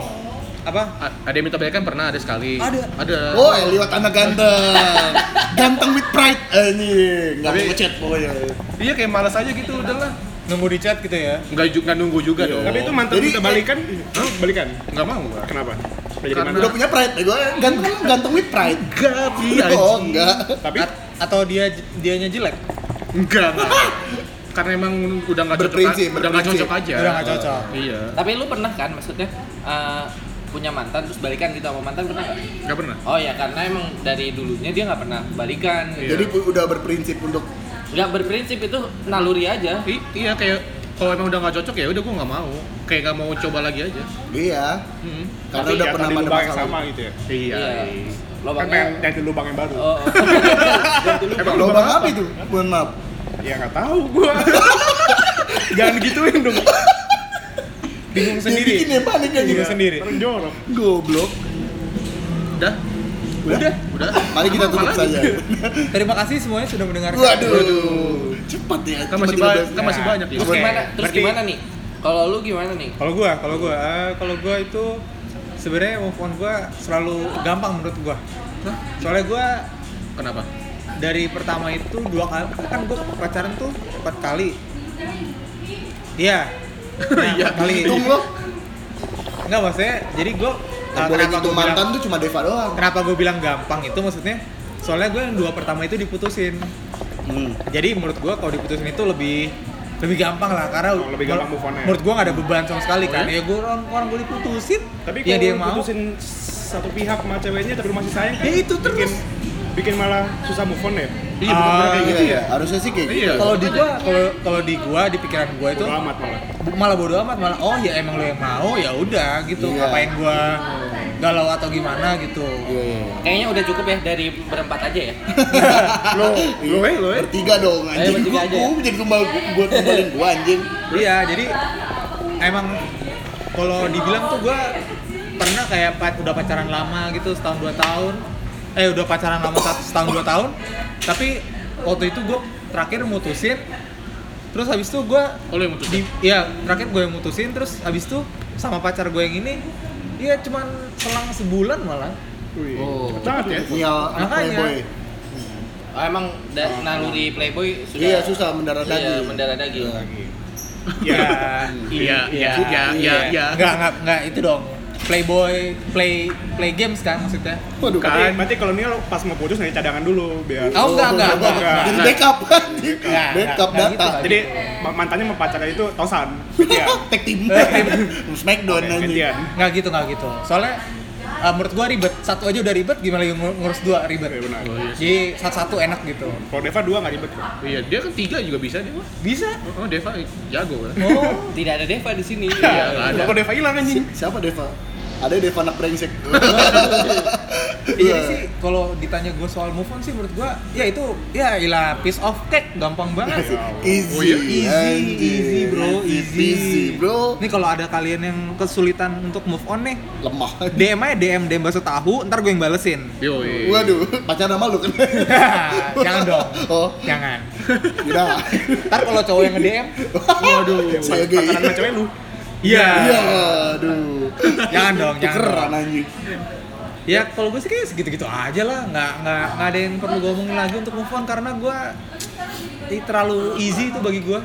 [SPEAKER 1] apa
[SPEAKER 2] A- ada yang minta balikan pernah ada sekali
[SPEAKER 1] Ada.
[SPEAKER 2] ada
[SPEAKER 4] Oh, Elliot anak ganteng. Ganteng with pride. Anjir, enggak mau
[SPEAKER 2] Tapi-
[SPEAKER 4] ngechat pokoknya.
[SPEAKER 2] iya kayak malas aja gitu udahlah Iya,
[SPEAKER 1] nunggu di chat gitu ya
[SPEAKER 2] nggak ju- nggak nunggu juga dong
[SPEAKER 3] Tapi itu mantan
[SPEAKER 4] Jadi,
[SPEAKER 3] kita balikan, Hah? balikan.
[SPEAKER 2] nggak mau gua.
[SPEAKER 3] Kenapa? Nggak Jadi
[SPEAKER 2] Karena-
[SPEAKER 3] mantan.
[SPEAKER 4] Udah punya pride, eh, gua ganteng ganteng with pride.
[SPEAKER 2] enggak iya
[SPEAKER 4] Oh,
[SPEAKER 2] anjing.
[SPEAKER 4] enggak.
[SPEAKER 3] Tapi
[SPEAKER 1] A- atau dia dianya jelek
[SPEAKER 2] enggak enggak. karena emang udah nggak cocok
[SPEAKER 4] Berprinsip,
[SPEAKER 2] udah nggak
[SPEAKER 4] berprinsip.
[SPEAKER 2] cocok aja
[SPEAKER 1] Udah nggak cocok.
[SPEAKER 2] iya
[SPEAKER 5] Tapi lu pernah kan maksudnya eh, punya mantan terus balikan gitu sama mantan pernah nggak?
[SPEAKER 2] nggak pernah
[SPEAKER 5] Oh ya karena emang dari dulunya dia nggak pernah balikan.
[SPEAKER 2] Iya.
[SPEAKER 5] Gitu.
[SPEAKER 4] Jadi pu- udah berprinsip untuk
[SPEAKER 5] Nggak berprinsip itu naluri aja.
[SPEAKER 2] I- iya kayak kalau emang udah nggak cocok ya udah gue nggak mau kayak nggak mau coba lagi aja
[SPEAKER 4] dia
[SPEAKER 2] Mm.
[SPEAKER 4] karena
[SPEAKER 3] tapi
[SPEAKER 4] udah
[SPEAKER 3] ya
[SPEAKER 4] pernah
[SPEAKER 3] tadi
[SPEAKER 4] pada
[SPEAKER 3] lubang yang
[SPEAKER 4] masalah.
[SPEAKER 3] sama gitu ya.
[SPEAKER 2] iya.
[SPEAKER 3] Kan
[SPEAKER 5] Lubangnya.
[SPEAKER 3] pengen ganti lubang yang baru.
[SPEAKER 5] Oh, oh. Ganti lubang.
[SPEAKER 4] Emang lubang apa itu? Mohon maaf.
[SPEAKER 3] Ya nggak tahu gua. Jangan gituin dong.
[SPEAKER 1] bingung
[SPEAKER 4] Dia bikin
[SPEAKER 1] sendiri
[SPEAKER 4] dia panik aja.
[SPEAKER 1] bingung sendiri
[SPEAKER 3] Orang jorok.
[SPEAKER 4] Goblok.
[SPEAKER 2] Udah,
[SPEAKER 4] Udah.
[SPEAKER 2] udah.
[SPEAKER 4] Mari kita tutup saja.
[SPEAKER 1] terima kasih semuanya sudah mendengarkan
[SPEAKER 4] Waduh. Cepat ya.
[SPEAKER 2] Kan masih
[SPEAKER 4] cepat
[SPEAKER 2] banyak, kan
[SPEAKER 4] tiga belas.
[SPEAKER 2] masih banyak ya.
[SPEAKER 1] Nah, iya.
[SPEAKER 5] Terus
[SPEAKER 1] Oke,
[SPEAKER 5] gimana? Terus
[SPEAKER 1] berarti-
[SPEAKER 5] gimana nih? Kalau lu gimana nih?
[SPEAKER 1] kalau gua kalau gua eh, kalau gua itu sebenarnya move on gua selalu gampang menurut gua
[SPEAKER 2] Hah?
[SPEAKER 1] soalnya gua
[SPEAKER 2] Kenapa?
[SPEAKER 1] dari pertama itu dua kali kan gua pacaran tuh empat kali iya Nah,
[SPEAKER 2] Iya,
[SPEAKER 1] empat kali
[SPEAKER 3] gitu.
[SPEAKER 4] Hitung lo.
[SPEAKER 1] Enggak maksudnya, jadi eh, gue
[SPEAKER 4] Yang boleh ngitung mantan tuh cuma Deva doang.
[SPEAKER 1] kenapa gue bilang gampang itu maksudnya soalnya gue yang dua pertama itu diputusin.
[SPEAKER 4] Hmm.
[SPEAKER 1] Jadi menurut gue kalau diputusin itu lebih lebih gampang lah karena
[SPEAKER 3] Oh, lebih gampang move on-nya.
[SPEAKER 1] menurut gue nggak ada beban sama sekali
[SPEAKER 2] Oh,
[SPEAKER 1] kan
[SPEAKER 2] iya?
[SPEAKER 1] ya gue orang orang gue diputusin
[SPEAKER 3] Tapi
[SPEAKER 1] ya
[SPEAKER 3] kalau
[SPEAKER 1] dia yang mau
[SPEAKER 3] putusin satu pihak sama ceweknya tapi lu masih sayang kan,
[SPEAKER 1] Ya itu
[SPEAKER 3] bikin,
[SPEAKER 1] terus.
[SPEAKER 3] bikin malah susah move on ya.
[SPEAKER 2] Iya, bener-bener kayak
[SPEAKER 4] Iya,
[SPEAKER 2] gitu ya.
[SPEAKER 4] iya. harusnya sih kayak
[SPEAKER 2] Iya.
[SPEAKER 4] gitu.
[SPEAKER 1] kalau di gue kalau kalau di gue di pikiran gue itu
[SPEAKER 3] Bodo amat malah.
[SPEAKER 1] bu- malah bodo amat malah oh ya emang lo yang mau ya udah gitu
[SPEAKER 4] Iya.
[SPEAKER 1] ngapain gue galau atau gimana gitu
[SPEAKER 4] Iya, iya.
[SPEAKER 5] Kayaknya udah cukup ya dari berempat aja ya.
[SPEAKER 4] Lo,
[SPEAKER 2] lo eh, lo eh.
[SPEAKER 4] Bertiga dong anjing.
[SPEAKER 5] bertiga
[SPEAKER 4] Gua,
[SPEAKER 5] aja ya.
[SPEAKER 4] gua jadi kembali gua kembalin gua anjing.
[SPEAKER 1] Iya, jadi emang kalau dibilang tuh gua pernah kayak pa- udah pacaran lama gitu setahun dua tahun, eh udah pacaran lama satu setahun dua tahun, tapi waktu itu gua terakhir mutusin, terus habis itu gua
[SPEAKER 2] Oh, lo yang mutusin?
[SPEAKER 1] di, ya terakhir gue yang mutusin, terus habis itu sama pacar gue yang ini, ya cuman selang sebulan malah,
[SPEAKER 3] Wih,
[SPEAKER 2] Oh.
[SPEAKER 3] cepet banget ya.
[SPEAKER 4] Nial anak
[SPEAKER 1] Makanya.
[SPEAKER 4] playboy.
[SPEAKER 5] Oh, emang da- naluri playboy sudah.
[SPEAKER 4] Iya, susah mendarah
[SPEAKER 5] Iya,
[SPEAKER 4] daging.
[SPEAKER 5] mendarah daging.
[SPEAKER 1] ya,
[SPEAKER 2] Iya, iya, iya, iya, iya.
[SPEAKER 1] nggak nggak nggak itu dong, playboy, play play games kan maksudnya,
[SPEAKER 4] Waduh.
[SPEAKER 3] Berarti, berarti kalau Nial pas mau putus nyari cadangan dulu biar
[SPEAKER 1] oh enggak enggak enggak,
[SPEAKER 4] Jadi
[SPEAKER 1] enggak.
[SPEAKER 4] backup. anjing.
[SPEAKER 1] Nggak,
[SPEAKER 4] Backup
[SPEAKER 1] nggak
[SPEAKER 4] data.
[SPEAKER 1] gitu,
[SPEAKER 4] Jadi
[SPEAKER 3] Jadi ma- mantannya sama pacarnya itu Tosan.
[SPEAKER 4] tag team. Smackdown anjing.
[SPEAKER 3] Gantian.
[SPEAKER 1] nggak gitu nggak gitu soalnya eh, menurut gua ribet satu aja udah ribet gimana lagi ngur- ngurus dua ribet
[SPEAKER 3] Iya,
[SPEAKER 2] Oh,
[SPEAKER 3] benar.
[SPEAKER 1] jadi satu satu enak gitu
[SPEAKER 3] Kalau Deva dua nggak ribet kok.
[SPEAKER 2] Iya, dia kan tiga juga bisa dia mah.
[SPEAKER 1] bisa
[SPEAKER 2] Oh, Deva jago kan.
[SPEAKER 1] oh
[SPEAKER 5] Tidak ada Deva di sini.
[SPEAKER 2] Iya, nggak ada.
[SPEAKER 3] Kalau Deva hilang anjing.
[SPEAKER 4] Siapa Deva? Ada Deva anak brengsek.
[SPEAKER 1] Ya,
[SPEAKER 4] Iya.
[SPEAKER 1] jadi sih kalau ditanya gue soal move on sih menurut gue ya itu ya ilah piece of cake gampang banget sih.
[SPEAKER 4] Easy,
[SPEAKER 2] Oh iya?
[SPEAKER 1] Easy,
[SPEAKER 4] anjing.
[SPEAKER 1] easy bro, easy.
[SPEAKER 4] iya. peasy, bro.
[SPEAKER 1] Nih kalau ada kalian yang kesulitan untuk move on nih,
[SPEAKER 4] Lemah.
[SPEAKER 1] DM aja DM DM bakso tahu, ntar gue yang balesin.
[SPEAKER 2] Yo,
[SPEAKER 4] Waduh, pacaran sama lu kan?
[SPEAKER 1] Jangan dong.
[SPEAKER 4] Oh,
[SPEAKER 1] Jangan.
[SPEAKER 4] tidak.
[SPEAKER 1] Ntar kalau cowok yang nge-DM,
[SPEAKER 4] Waduh, saya gay.
[SPEAKER 3] Pacaran sama cewek lu.
[SPEAKER 1] iya.
[SPEAKER 4] Iya, aduh.
[SPEAKER 1] Jangan dong, jangan.
[SPEAKER 4] Tukeran
[SPEAKER 1] dong.
[SPEAKER 4] anjing.
[SPEAKER 1] Ya kalau gue sih kayak segitu-gitu aja lah, nggak nggak nggak ada yang perlu gue omongin lagi untuk move on karena gue ini terlalu easy itu bagi gue.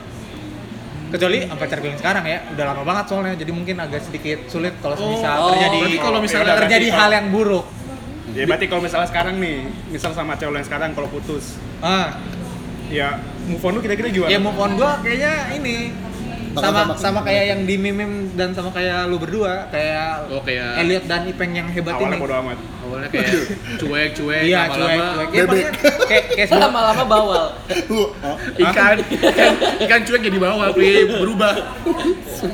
[SPEAKER 1] Kecuali sama pacar gue yang sekarang ya, udah lama banget soalnya, jadi mungkin agak sedikit sulit kalau misal
[SPEAKER 5] oh,
[SPEAKER 1] terjadi
[SPEAKER 2] berarti kalau misalnya
[SPEAKER 1] terjadi hal yang buruk.
[SPEAKER 3] Ya berarti kalau misalnya sekarang nih, misal sama cewek lu yang sekarang kalau putus,
[SPEAKER 1] Ah,
[SPEAKER 3] ya move on lu kira-kira gimana?
[SPEAKER 1] ya move on gue kayaknya ini sama
[SPEAKER 4] Sama-sama.
[SPEAKER 1] sama kayak yang di meme dan sama kayak lu berdua kayak
[SPEAKER 2] Oh, kayak-
[SPEAKER 1] Elliot dan Ipeng yang hebat
[SPEAKER 3] Awalnya
[SPEAKER 1] ini.
[SPEAKER 3] bodo amat.
[SPEAKER 2] Awalnya kayak cuek-cuek,
[SPEAKER 1] Iya, cuek,
[SPEAKER 2] lama-lama
[SPEAKER 1] cuek. Ya,
[SPEAKER 4] Bebek.
[SPEAKER 1] pokoknya kayak kayak sebelum-
[SPEAKER 5] Iya. Lama-lama bawal.
[SPEAKER 4] Huh, ah.
[SPEAKER 2] ikan, ikan, ikan cuek jadi bawah, Pri, berubah.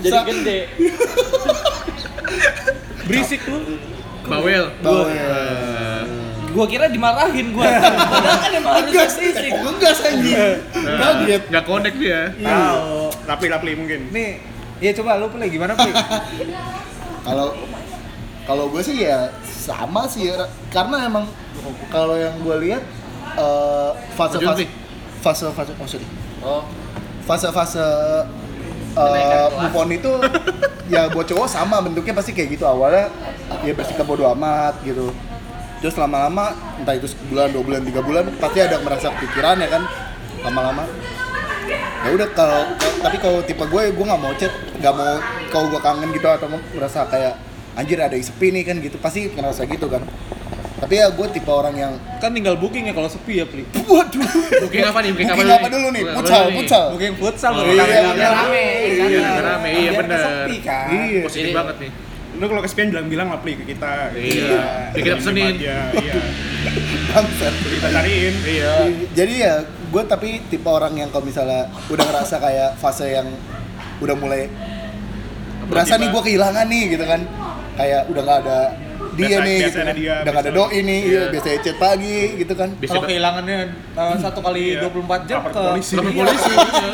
[SPEAKER 5] Jadi gede.
[SPEAKER 1] berisik lu.
[SPEAKER 2] Bawel.
[SPEAKER 4] Bawel.
[SPEAKER 5] Gua kira dimarahin gua. Padahal kan emang harusnya
[SPEAKER 4] Gas
[SPEAKER 1] Iya.
[SPEAKER 5] sisik.
[SPEAKER 4] Oh, enggak anjing. Kaget.
[SPEAKER 2] Enggak connect dia.
[SPEAKER 1] Tahu.
[SPEAKER 3] Rapli-rapli mungkin.
[SPEAKER 1] Nih, ya coba lu play gimana play?
[SPEAKER 4] Kalau kalau gue sih ya sama sih ya. karena emang kalau yang gue lihat eh, fase-fase
[SPEAKER 2] Lanjut,
[SPEAKER 4] fase-fase oh, sorry.
[SPEAKER 5] Oh,
[SPEAKER 4] fase-fase
[SPEAKER 5] Kenaikan
[SPEAKER 4] eh
[SPEAKER 5] kelas.
[SPEAKER 4] move on itu ya buat cowok sama bentuknya pasti kayak gitu awalnya ya bersikap bodo amat gitu terus lama-lama entah itu sebulan dua bulan tiga bulan pasti ada merasa kepikiran ya kan lama-lama ya udah kalau tapi kalau tipe gue gue nggak mau chat nggak mau kalau gue kangen gitu atau merasa kayak anjir ada sepi nih kan gitu pasti ngerasa gitu kan tapi ya gue tipe orang yang
[SPEAKER 1] kan tinggal booking ya kalau sepi ya, Pli.
[SPEAKER 4] waduh
[SPEAKER 2] Booking apa nih?
[SPEAKER 4] booking apa dulu nih pucal pucal
[SPEAKER 1] Booking futsal
[SPEAKER 2] Oh,
[SPEAKER 1] bukan
[SPEAKER 4] iya,
[SPEAKER 1] rame-rame.
[SPEAKER 4] iya.
[SPEAKER 1] kan?
[SPEAKER 2] Iya, rame-rame, iya,
[SPEAKER 1] Biar
[SPEAKER 2] bener.
[SPEAKER 1] Sepi kan.
[SPEAKER 4] iya
[SPEAKER 2] Positif
[SPEAKER 5] Ini-
[SPEAKER 2] banget nih.
[SPEAKER 3] Ah, Lu kalau kesepian bilang-bilang Rapli ke kita.
[SPEAKER 2] Iya. Bikin
[SPEAKER 3] Kita
[SPEAKER 2] pesenin.
[SPEAKER 3] Iya, iya.
[SPEAKER 4] bangsat
[SPEAKER 3] Kita cariin.
[SPEAKER 2] Iya.
[SPEAKER 4] jadi ya gue tapi tipe orang yang kalau misalnya udah ngerasa kayak fase yang udah mulai berasa nih gue kehilangan nih gitu kan kayak udah nggak ada dia
[SPEAKER 3] Biasa-
[SPEAKER 4] nih
[SPEAKER 3] biasa
[SPEAKER 4] gitu
[SPEAKER 3] ada
[SPEAKER 4] kan.
[SPEAKER 3] dia,
[SPEAKER 4] udah nggak ada
[SPEAKER 3] biasa-
[SPEAKER 4] doi nih iya, biasanya chat pagi gitu kan nah,
[SPEAKER 2] Biasa
[SPEAKER 1] Kalau kehilangannya eh, satu kali
[SPEAKER 3] Iya.
[SPEAKER 1] 24 jam
[SPEAKER 3] Lapor
[SPEAKER 1] ke
[SPEAKER 3] polisi.
[SPEAKER 2] Lapor polisi. iya.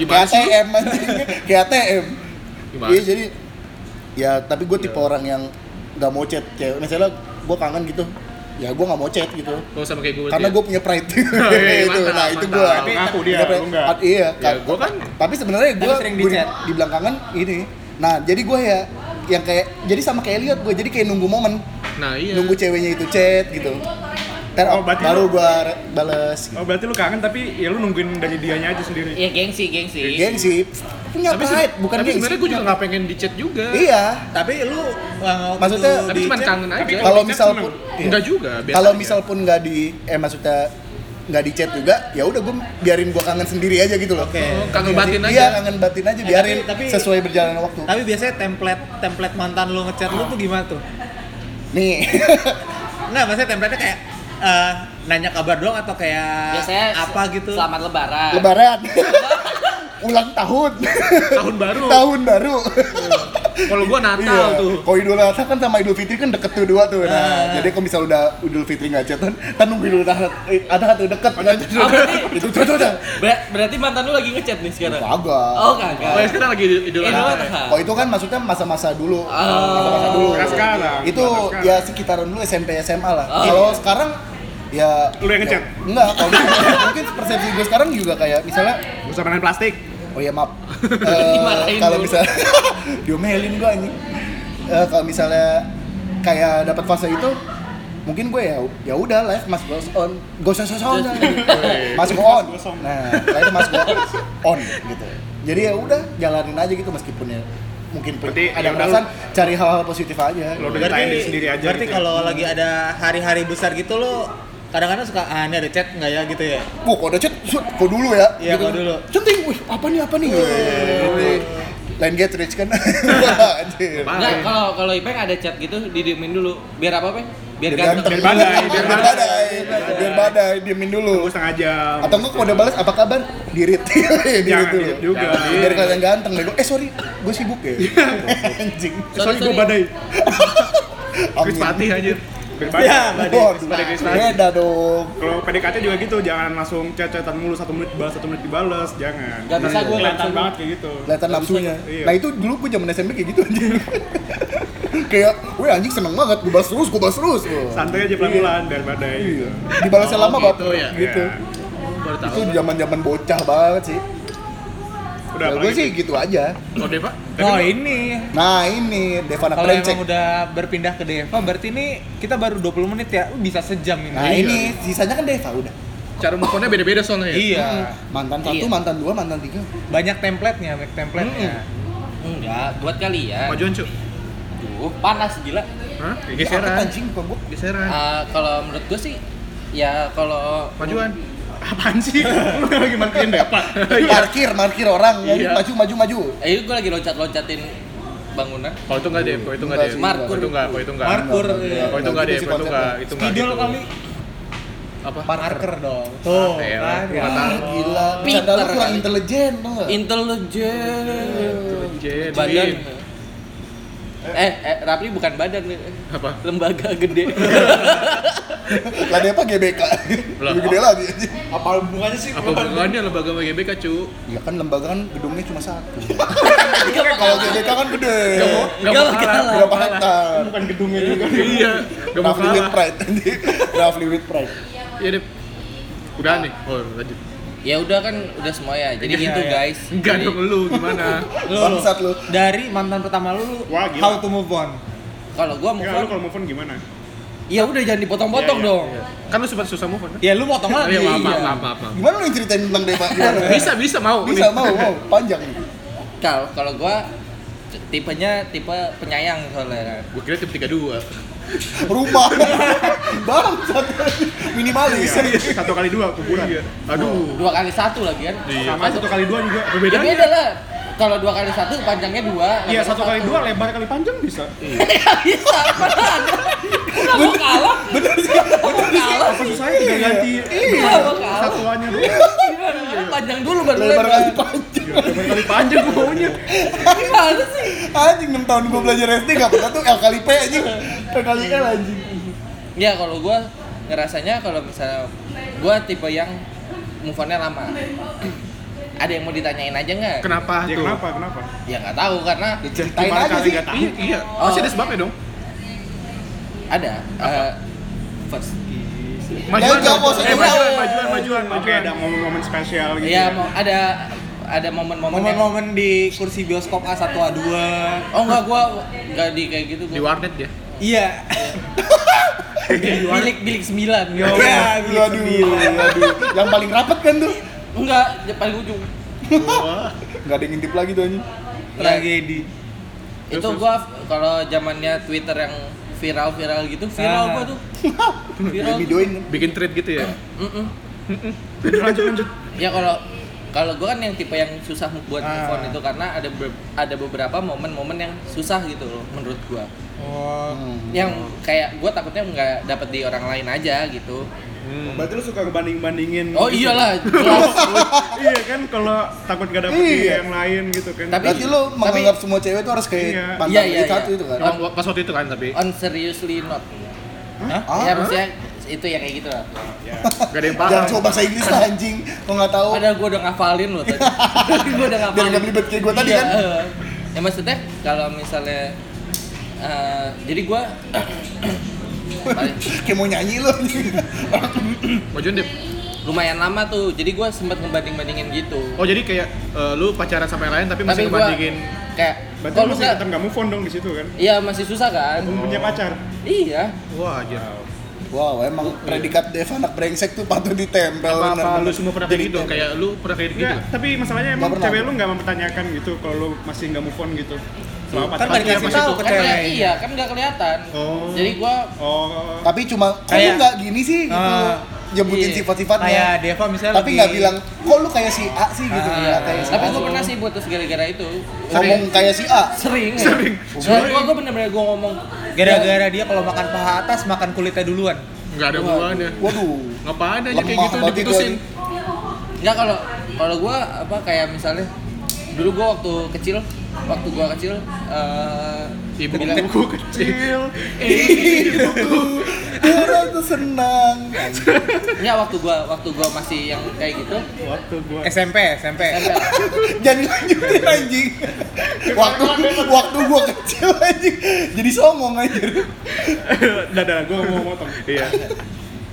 [SPEAKER 2] Gimana
[SPEAKER 4] kayak
[SPEAKER 2] sih?
[SPEAKER 4] ATM anjing kayak ATM
[SPEAKER 2] Gimana? Iya.
[SPEAKER 4] iya jadi ya tapi gue tipe orang yang nggak mau chat cewek misalnya gue kangen gitu ya gue nggak mau chat gitu
[SPEAKER 2] Gak sama kayak ya. gue.
[SPEAKER 4] karena gue punya pride
[SPEAKER 2] iya,
[SPEAKER 4] itu
[SPEAKER 2] mantap,
[SPEAKER 4] nah itu
[SPEAKER 2] mantap.
[SPEAKER 4] gue
[SPEAKER 3] Tapi ngaku dia, lu nggak.
[SPEAKER 4] iya
[SPEAKER 2] Ya, gue kan
[SPEAKER 4] tapi sebenarnya
[SPEAKER 1] Tapi
[SPEAKER 4] gue
[SPEAKER 1] sering
[SPEAKER 4] di,
[SPEAKER 1] di-chat.
[SPEAKER 4] di belakangan ini nah jadi gue ya yang kayak jadi sama kayak Elliot gue jadi kayak nunggu momen
[SPEAKER 2] Nah, iya.
[SPEAKER 4] nunggu ceweknya itu chat gitu Ntar
[SPEAKER 3] Oh, berarti
[SPEAKER 4] baru
[SPEAKER 3] lu-
[SPEAKER 4] gue bales gitu.
[SPEAKER 3] Oh berarti lu kangen tapi ya lu nungguin dari dianya aja sendiri.
[SPEAKER 5] ya gengsi, gengsi.
[SPEAKER 4] gengsi
[SPEAKER 2] Iya.
[SPEAKER 4] punya
[SPEAKER 2] Tapi, se-
[SPEAKER 4] pride bukan
[SPEAKER 2] tapi
[SPEAKER 4] gengsi
[SPEAKER 2] sebenarnya gue juga gak pengen di-chat juga.
[SPEAKER 4] iya
[SPEAKER 1] Tapi lu eh,
[SPEAKER 4] Maksudnya-
[SPEAKER 1] waktu
[SPEAKER 2] Tapi kan-
[SPEAKER 1] di
[SPEAKER 2] cuma
[SPEAKER 1] chat,
[SPEAKER 2] kangen
[SPEAKER 3] Tapi
[SPEAKER 2] aja.
[SPEAKER 3] kalau
[SPEAKER 4] kalau
[SPEAKER 3] di-chat
[SPEAKER 4] misal
[SPEAKER 3] seneng.
[SPEAKER 4] pun iya.
[SPEAKER 2] Enggak juga. biasa
[SPEAKER 4] kalau
[SPEAKER 2] aja.
[SPEAKER 4] misal pun nggak di eh maksudnya nggak di chat juga ya udah gue biarin gue kangen sendiri aja gitu loh
[SPEAKER 1] Oke.
[SPEAKER 2] Oh, kangen batin
[SPEAKER 4] iya
[SPEAKER 2] aja.
[SPEAKER 4] kangen batin aja
[SPEAKER 1] Eh,
[SPEAKER 4] biarin
[SPEAKER 1] tapi- tapi-
[SPEAKER 4] sesuai berjalan waktu
[SPEAKER 1] Tapi biasanya template template mantan lu ngechat lu tuh gimana tuh?
[SPEAKER 4] nih
[SPEAKER 1] Nah, maksudnya template-nya kayak eh, nanya kabar doang atau kayak
[SPEAKER 5] Biasanya
[SPEAKER 1] apa gitu?
[SPEAKER 5] Selamat lebaran.
[SPEAKER 4] lebaran ulang tahun
[SPEAKER 2] Tahun baru.
[SPEAKER 4] tahun baru Iya.
[SPEAKER 2] Kalau gue Natal tuh.
[SPEAKER 4] Kalau Idul Adha kan sama Idul Fitri kan deket tuh dua tuh. Nah,
[SPEAKER 1] Nah.
[SPEAKER 4] jadi kalau misal udah Idul Fitri nggak chatan, kan nunggu Idul Adha, eh, Adha tuh deket kan.
[SPEAKER 5] Oh, berarti-
[SPEAKER 4] Itu tuh tuh tuh.
[SPEAKER 5] Ber- berarti mantan lu lagi ngechat nih sekarang.
[SPEAKER 4] Kagak.
[SPEAKER 2] Oh,
[SPEAKER 5] Oh,
[SPEAKER 2] ya
[SPEAKER 5] kagak.
[SPEAKER 2] sekarang lagi idul
[SPEAKER 5] Eh, lu
[SPEAKER 2] adha. ya?
[SPEAKER 5] Adha.
[SPEAKER 4] Kalau itu kan maksudnya masa-masa dulu. Masa-masa dulu.
[SPEAKER 3] Bukan sekarang.
[SPEAKER 4] Itu
[SPEAKER 3] bukan sekarang.
[SPEAKER 4] ya sekitaran dulu SMP SMA lah.
[SPEAKER 5] Oh.
[SPEAKER 4] Kalau sekarang ya
[SPEAKER 3] Lu yang ngechat?
[SPEAKER 4] ya, Enggak, kalau mungkin persepsi gue sekarang juga kayak misalnya
[SPEAKER 3] Gak usah main plastik.
[SPEAKER 4] Oh iya maaf. Eh,
[SPEAKER 5] Dimarahin
[SPEAKER 4] kalau
[SPEAKER 5] dulu.
[SPEAKER 4] bisa diomelin gua anjing. Eh, kalau misalnya kayak dapat fase itu mungkin gue ya ya udah live mas goes on gak usah sosok mas go on
[SPEAKER 3] Mas goes on.
[SPEAKER 4] nah live mas go on gitu jadi ya udah jalanin aja gitu meskipun ya mungkin pun
[SPEAKER 3] Berarti
[SPEAKER 4] ada
[SPEAKER 3] ya udah
[SPEAKER 4] alasan cari hal-hal positif aja
[SPEAKER 3] Lo udah ditahan diri sendiri aja.
[SPEAKER 1] berarti
[SPEAKER 3] gitu.
[SPEAKER 1] kalau lagi ada hari-hari besar gitu lo kadang-kadang suka ah ini ada chat nggak ya gitu ya
[SPEAKER 4] Wah, kok ada chat, shoot, kok dulu ya?
[SPEAKER 1] Iya, kok dulu.
[SPEAKER 4] Centing, wih, apa nih, apa nih? Wih, iya. Lain get rich kan? Anjir.
[SPEAKER 2] Parah.
[SPEAKER 5] Enggak, kalau kalau Ipeng ada chat gitu didiemin dulu. Biar apa, Peng? Biar ganteng.
[SPEAKER 4] Biar badai, biar
[SPEAKER 3] badai.
[SPEAKER 4] badai, biar badai, diemin dulu.
[SPEAKER 3] Tunggu setengah jam.
[SPEAKER 4] Atau enggak kalau udah balas apa kabar? Dirit. Dirit
[SPEAKER 3] Jangan
[SPEAKER 4] dulu.
[SPEAKER 3] dirit juga.
[SPEAKER 4] Biar kalian ganteng bego. Eh sorry, gue sibuk ya. Anjing.
[SPEAKER 3] Sorry, gue badai.
[SPEAKER 2] Chris Patih anjir.
[SPEAKER 3] Berbadai.
[SPEAKER 1] ya
[SPEAKER 4] Waduh,
[SPEAKER 3] Iya, Badai.
[SPEAKER 4] Beda dong.
[SPEAKER 3] Kalau PDKT juga gitu, jangan langsung chat-chatan mulu satu menit balas, satu menit dibalas, jangan.
[SPEAKER 5] Gak bisa gue
[SPEAKER 3] kelihatan
[SPEAKER 5] langsung.
[SPEAKER 3] banget kayak gitu.
[SPEAKER 4] Kelihatan nafsunya.
[SPEAKER 3] Iya.
[SPEAKER 4] Nah itu dulu gue zaman SMP kayak gitu anjing. kayak, weh anjing seneng banget, gue balas terus, gue balas terus. Wah.
[SPEAKER 3] Santai aja pelan-pelan biar badai.
[SPEAKER 4] Iya. Dibalasnya
[SPEAKER 2] Oh,
[SPEAKER 4] lama
[SPEAKER 2] gitu
[SPEAKER 4] baper
[SPEAKER 2] ya?
[SPEAKER 4] gitu.
[SPEAKER 3] Iya.
[SPEAKER 2] Baru tahu.
[SPEAKER 4] Itu zaman-zaman bocah banget sih.
[SPEAKER 3] Udah
[SPEAKER 4] Kalau
[SPEAKER 3] apa
[SPEAKER 4] gue
[SPEAKER 3] lagi?
[SPEAKER 4] sih gitu aja.
[SPEAKER 2] Kode, Pak.
[SPEAKER 1] oh ini
[SPEAKER 4] Nah ini Devana
[SPEAKER 1] kalau
[SPEAKER 4] Prencek.
[SPEAKER 1] emang udah berpindah ke Deva berarti ini kita baru 20 menit ya bisa sejam ini
[SPEAKER 2] Iya.
[SPEAKER 4] Nah ini sisanya kan Deva udah. Hmm.
[SPEAKER 2] Cara move on-nya beda-beda soalnya ya.
[SPEAKER 1] iya
[SPEAKER 4] Mantan satu,
[SPEAKER 5] Iya.
[SPEAKER 4] mantan dua, mantan tiga.
[SPEAKER 1] banyak template-nya banyak template-nya
[SPEAKER 5] Enggak, buat kalian.
[SPEAKER 2] Majuan, Cuk.
[SPEAKER 5] Duh, panas gila.
[SPEAKER 2] Hah? Ya,
[SPEAKER 4] Ya, apa
[SPEAKER 2] Geseran.
[SPEAKER 4] anjing bukan gua.
[SPEAKER 2] Geseran.
[SPEAKER 5] Ah, kalau menurut gue sih ya kalau
[SPEAKER 2] Majuan. Apaan sih? Lu lagi matiin dapat.
[SPEAKER 4] Parkir, parkir orang. Ya,
[SPEAKER 2] Iya.
[SPEAKER 4] Maju, maju, maju.
[SPEAKER 5] Eh, gue lagi loncat-loncatin bangunan.
[SPEAKER 2] Kalau Oh, itu enggak deh, kalau itu enggak
[SPEAKER 4] Enggak
[SPEAKER 2] deh.
[SPEAKER 4] sih,
[SPEAKER 2] Kalau
[SPEAKER 5] enggak.
[SPEAKER 2] itu enggak, kalau itu enggak.
[SPEAKER 1] Parkur, iya.
[SPEAKER 2] Kalau itu enggak deh,
[SPEAKER 4] sih
[SPEAKER 2] kalau itu
[SPEAKER 4] konsepnya.
[SPEAKER 2] enggak, itu enggak.
[SPEAKER 1] spidol
[SPEAKER 2] gitu.
[SPEAKER 1] kali
[SPEAKER 2] Apa?
[SPEAKER 1] marker dong tuh
[SPEAKER 2] Ah, iya.
[SPEAKER 1] kan ya.
[SPEAKER 2] Mata.
[SPEAKER 4] Ah, gila.
[SPEAKER 5] Pinter
[SPEAKER 4] Canda lu kurang
[SPEAKER 5] kali.
[SPEAKER 4] intelijen tau nggak?
[SPEAKER 5] Intelijen.
[SPEAKER 2] Intelijen.
[SPEAKER 5] Badan. Eh, eh Rapli bukan badan, eh.
[SPEAKER 2] Apa?
[SPEAKER 5] lembaga gede.
[SPEAKER 4] Lah dia apa GBK?
[SPEAKER 2] Lah.
[SPEAKER 4] Lebih gede lagi anjing.
[SPEAKER 5] Apa hubungannya sih?
[SPEAKER 2] Apa hubungannya lembaga sama GBK, Cu?
[SPEAKER 4] Ya kan lembaga kan gedungnya cuma satu. Kalau GBK kan gede.
[SPEAKER 2] Enggak
[SPEAKER 5] Enggak
[SPEAKER 2] mau kalah.
[SPEAKER 5] kalah.
[SPEAKER 4] Berapa hektar?
[SPEAKER 3] Bukan gedungnya juga.
[SPEAKER 2] Iya, enggak mau
[SPEAKER 4] Roughly with
[SPEAKER 2] kalah.
[SPEAKER 4] pride. anjing. Roughly with pride.
[SPEAKER 2] Iya, Dep. Udah nih. Oh, lanjut.
[SPEAKER 5] Ya udah kan udah semua ya.
[SPEAKER 1] Iya,
[SPEAKER 5] Jadi gitu
[SPEAKER 1] iya.
[SPEAKER 5] guys.
[SPEAKER 2] Enggak
[SPEAKER 5] Jadi,
[SPEAKER 2] dong lu gimana?
[SPEAKER 1] Lu, lu.
[SPEAKER 4] Bangsat lu.
[SPEAKER 1] dari mantan pertama lu, lu
[SPEAKER 3] Wah, gila.
[SPEAKER 1] how to move on
[SPEAKER 5] Kalau gua mau
[SPEAKER 3] Ya, lu kalau move on gimana?
[SPEAKER 5] ya udah jangan dipotong-potong
[SPEAKER 3] Iya, iya,
[SPEAKER 5] dong.
[SPEAKER 2] Kan lu sempat susah move on. kan?
[SPEAKER 1] ya lu potong
[SPEAKER 2] Oh,
[SPEAKER 1] lagi
[SPEAKER 2] iya, maaf, maaf, maaf, maaf, maaf.
[SPEAKER 4] Gimana lu yang ceritain tentang Deva? Gimana?
[SPEAKER 2] Bisa, bisa mau.
[SPEAKER 4] Bisa
[SPEAKER 2] Nih.
[SPEAKER 4] mau, mau. Panjang nih.
[SPEAKER 5] Kalau kalau gua t- tipenya tipe penyayang soalnya.
[SPEAKER 2] Gua kira tim 32.
[SPEAKER 4] Rumah. Bangsat. Minimalis.
[SPEAKER 1] Iya,
[SPEAKER 3] Satu kali dua kuburan.
[SPEAKER 2] Iya. Aduh.
[SPEAKER 5] Dua kali satu lagi kan.
[SPEAKER 2] Iya.
[SPEAKER 3] Sama satu kali dua juga.
[SPEAKER 5] Ya
[SPEAKER 2] Berbeda.
[SPEAKER 5] beda lah. Kalau dua kali satu panjangnya dua.
[SPEAKER 3] Iya
[SPEAKER 5] lebarnya
[SPEAKER 3] satu kali dua lebar kali panjang bisa.
[SPEAKER 5] Nggak bisa. apaan? Gua mau kalah.
[SPEAKER 4] Bener sih.
[SPEAKER 5] Gua mau kalah.
[SPEAKER 3] Apa susahnya tinggal ganti
[SPEAKER 5] Iya, mau kalah.
[SPEAKER 3] satuannya dulu.
[SPEAKER 5] Panjang dulu baru
[SPEAKER 4] Lebar
[SPEAKER 5] lebar.
[SPEAKER 4] kali panjang.
[SPEAKER 3] Lebar kali panjang gua maunya.
[SPEAKER 5] Gimana sih?
[SPEAKER 4] Anjing 6 tahun gue belajar SD gak pernah tuh L kali P anjing P kali L anjing
[SPEAKER 5] Ya kalau gua ngerasanya kalau misalnya gua tipe yang move on-nya lama. Ada yang mau ditanyain aja nggak?
[SPEAKER 2] Kenapa
[SPEAKER 3] Ya
[SPEAKER 2] tuh?
[SPEAKER 3] kenapa kenapa?
[SPEAKER 5] Ya nggak tahu karena
[SPEAKER 4] Ceritain
[SPEAKER 3] Gimana
[SPEAKER 4] aja
[SPEAKER 3] kali
[SPEAKER 4] sih
[SPEAKER 3] nggak tahu?
[SPEAKER 2] Iya, iya.
[SPEAKER 5] Oh.
[SPEAKER 2] Masih ada sebabnya dong.
[SPEAKER 5] ada. eh, first.
[SPEAKER 2] Majuan
[SPEAKER 4] nggak
[SPEAKER 2] dong.
[SPEAKER 4] mau usah
[SPEAKER 2] Eh,
[SPEAKER 4] jawab.
[SPEAKER 2] majuan, majuan, majuan,
[SPEAKER 3] Oke
[SPEAKER 2] majuan.
[SPEAKER 3] ada momen-momen spesial gitu.
[SPEAKER 5] Ya mau ada ada momen-momen yang-
[SPEAKER 1] momen-momen di kursi bioskop A1 A2
[SPEAKER 5] Oh enggak gua enggak di kayak gitu
[SPEAKER 2] Di
[SPEAKER 5] gua.
[SPEAKER 2] warnet ya.
[SPEAKER 1] iya
[SPEAKER 5] Bilik bilik 9. Yo.
[SPEAKER 1] Ya,
[SPEAKER 4] Aduh, aduh, aduh. Yang paling rapet kan tuh
[SPEAKER 5] Enggak, di paling ujung.
[SPEAKER 4] Gak ada yang ngintip lagi tuh anjing
[SPEAKER 1] tragedi
[SPEAKER 5] Ya, itu gua kalau zamannya Twitter yang viral-viral gitu, viral
[SPEAKER 1] Ah.
[SPEAKER 5] gua tuh.
[SPEAKER 4] Dia
[SPEAKER 5] Viral.
[SPEAKER 4] Iya. videoin
[SPEAKER 2] Bikin thread gitu ya.
[SPEAKER 5] Mm-mm.
[SPEAKER 3] lanjut lanjut.
[SPEAKER 5] Ya kalau kalau gua kan yang tipe yang susah buat move on
[SPEAKER 1] Ah.
[SPEAKER 5] itu karena ada be- ada beberapa momen-momen yang susah gitu loh menurut gua.
[SPEAKER 1] Oh,
[SPEAKER 4] Hmm.
[SPEAKER 5] Yang kayak gua takutnya nggak dapat di orang lain aja gitu.
[SPEAKER 3] Berarti lu suka
[SPEAKER 4] Hmm.
[SPEAKER 3] ngebanding-bandingin.
[SPEAKER 5] Oh
[SPEAKER 3] gitu.
[SPEAKER 5] iyalah, jelas.
[SPEAKER 3] iya kan kalau takut gak dapet di
[SPEAKER 4] Iya.
[SPEAKER 3] yang lain gitu kan.
[SPEAKER 5] Tapi-
[SPEAKER 4] Berarti lu
[SPEAKER 5] Tapi-
[SPEAKER 4] menganggap semua cewek tuh harus kayak
[SPEAKER 3] Iya.
[SPEAKER 4] mantan
[SPEAKER 5] Iya, iya,
[SPEAKER 4] dari satu
[SPEAKER 5] iya.
[SPEAKER 4] itu kan
[SPEAKER 5] Iya.
[SPEAKER 2] Yang Pas waktu itu kan tapi
[SPEAKER 5] on seriously not.
[SPEAKER 4] Ah,
[SPEAKER 5] ya maksudnya itu ya kayak gitu lah.
[SPEAKER 2] gak ada yang paham.
[SPEAKER 4] Jangan coba bahasa Inggris lah anjing Kok gak tau
[SPEAKER 5] Padahal gue udah ngafalin loh tadi. gue udah ngafalin.
[SPEAKER 4] Oh. Biar nggak belibet kayak gua tadi
[SPEAKER 5] Iya,
[SPEAKER 4] kan?
[SPEAKER 5] eh. Ya maksudnya kalau misalnya eh, jadi gue
[SPEAKER 4] Kayak mau nyanyi lu anjing
[SPEAKER 2] Majuan deh.
[SPEAKER 5] lumayan lama tuh. Jadi gue sempat ngebanding-bandingin gitu.
[SPEAKER 2] Oh jadi kayak eh, lu pacaran sama yang lain tapi masih
[SPEAKER 5] gua
[SPEAKER 2] ngebandingin
[SPEAKER 5] kayak
[SPEAKER 3] Berarti
[SPEAKER 5] kok lu
[SPEAKER 3] lu masih Oh.
[SPEAKER 5] nggak-
[SPEAKER 3] tetap gak move on dong di situ kan.
[SPEAKER 5] Iya masih susah kan?
[SPEAKER 3] Belum punya pacar.
[SPEAKER 5] Iya.
[SPEAKER 2] Wah aja.
[SPEAKER 4] Wow emang predikat Deva anak brengsek tuh patut ditempel
[SPEAKER 2] Apa
[SPEAKER 4] bener-bener.
[SPEAKER 2] lu semua pernah kayak
[SPEAKER 4] Jadi
[SPEAKER 2] gitu? Kayak lu pernah kayak gitu?
[SPEAKER 3] Enggak, tapi masalahnya emang
[SPEAKER 4] Nggak pernah.
[SPEAKER 3] cewek lu gak mempertanyakan gitu kalau lu masih gak move on gitu.
[SPEAKER 2] Selamat
[SPEAKER 1] Kan nggak
[SPEAKER 2] pagi
[SPEAKER 1] dikasih
[SPEAKER 2] apa sih
[SPEAKER 1] tahu
[SPEAKER 2] itu?
[SPEAKER 1] ke
[SPEAKER 5] kan
[SPEAKER 1] cewek.
[SPEAKER 5] nggak- iya kan nggak kelihatan
[SPEAKER 2] Oh.
[SPEAKER 5] jadi gua
[SPEAKER 2] Oh,
[SPEAKER 4] Tapi cuma kok lu
[SPEAKER 1] Kayak-
[SPEAKER 4] nggak gini sih gitu.
[SPEAKER 1] Ah.
[SPEAKER 4] Nyebutin
[SPEAKER 5] Iya.
[SPEAKER 4] sifat-sifatnya.
[SPEAKER 1] Kayak Deva misalnya
[SPEAKER 4] tapi
[SPEAKER 1] lebih-
[SPEAKER 4] nggak bilang kok lu kayak si A sih gitu
[SPEAKER 1] Ah,
[SPEAKER 4] nggak
[SPEAKER 5] iya.
[SPEAKER 4] kayak si
[SPEAKER 5] tapi
[SPEAKER 4] A.
[SPEAKER 5] gua pernah sih putus gara-gara itu
[SPEAKER 4] ngomong kayak si A
[SPEAKER 5] sering ya. sering gua gua bener-bener gua ngomong
[SPEAKER 1] Gara-gara dia kalau makan paha atas makan kulitnya duluan.
[SPEAKER 2] nggak ada hubungannya.
[SPEAKER 4] waduh
[SPEAKER 2] Ngapain aja kayak
[SPEAKER 4] Lemah
[SPEAKER 2] gitu
[SPEAKER 4] banget itu
[SPEAKER 2] diputusin?
[SPEAKER 5] Enggak kalau kalau gua apa kayak misalnya dulu gua waktu kecil waktu gua kecil eh
[SPEAKER 2] Ibu
[SPEAKER 5] bilang
[SPEAKER 2] ibu kecil.
[SPEAKER 4] orang tuh senang
[SPEAKER 5] enggak waktu gua waktu gua masih yang kayak gitu kan
[SPEAKER 3] waktu gua
[SPEAKER 1] SMP, SMP.
[SPEAKER 5] tempel.
[SPEAKER 4] jangan lanjutin anjing waktu waktu gua kecil anjing jadi songong anjir
[SPEAKER 3] dadah gua mau motong
[SPEAKER 2] Iya.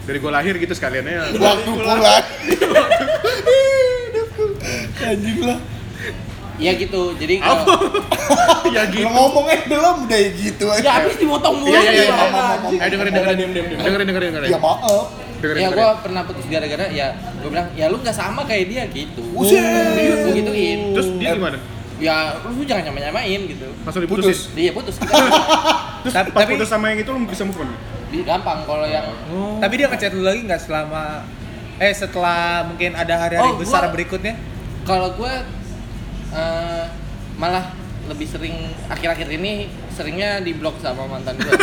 [SPEAKER 2] Dari gua lahir gitu sekalian ya.
[SPEAKER 4] waktu pulang anjing lah
[SPEAKER 5] ya gitu jadi kalau
[SPEAKER 2] ya
[SPEAKER 4] Lo
[SPEAKER 2] gitu.
[SPEAKER 4] ngomongnya belum udah gitu
[SPEAKER 5] ya
[SPEAKER 4] aja
[SPEAKER 5] habis dimotong mulu
[SPEAKER 2] Iya,
[SPEAKER 5] gitu.
[SPEAKER 2] iya, iya,
[SPEAKER 5] gimana,
[SPEAKER 4] ngomong, ngomong.
[SPEAKER 5] anjing?
[SPEAKER 2] Eh dengerin dengerin dengerin dengerin dengerin dengerin.
[SPEAKER 4] ya maaf
[SPEAKER 2] Dengerin,
[SPEAKER 5] ya
[SPEAKER 2] dengerin.
[SPEAKER 5] gua pernah putus gara-gara ya gua bilang ya lu nggak sama kayak dia gitu
[SPEAKER 4] Buset. Eh,
[SPEAKER 5] gua gituin
[SPEAKER 2] Terus dia gimana?
[SPEAKER 5] ya lu jangan nyamain-nyamain gitu
[SPEAKER 2] Langsung diputus.
[SPEAKER 5] dia putus kita
[SPEAKER 3] terus
[SPEAKER 1] Tapi-
[SPEAKER 3] pas
[SPEAKER 1] tapi-
[SPEAKER 3] putus sama yang itu lu bisa move on
[SPEAKER 5] Dia gampang kalau yang
[SPEAKER 1] Tapi dia ngechat lu lagi nggak selama eh setelah mungkin ada hari-hari
[SPEAKER 5] Oh, gua-
[SPEAKER 1] besar berikutnya?
[SPEAKER 5] kalau gue eh, malah lebih sering akhir-akhir ini seringnya di blok sama mantan gue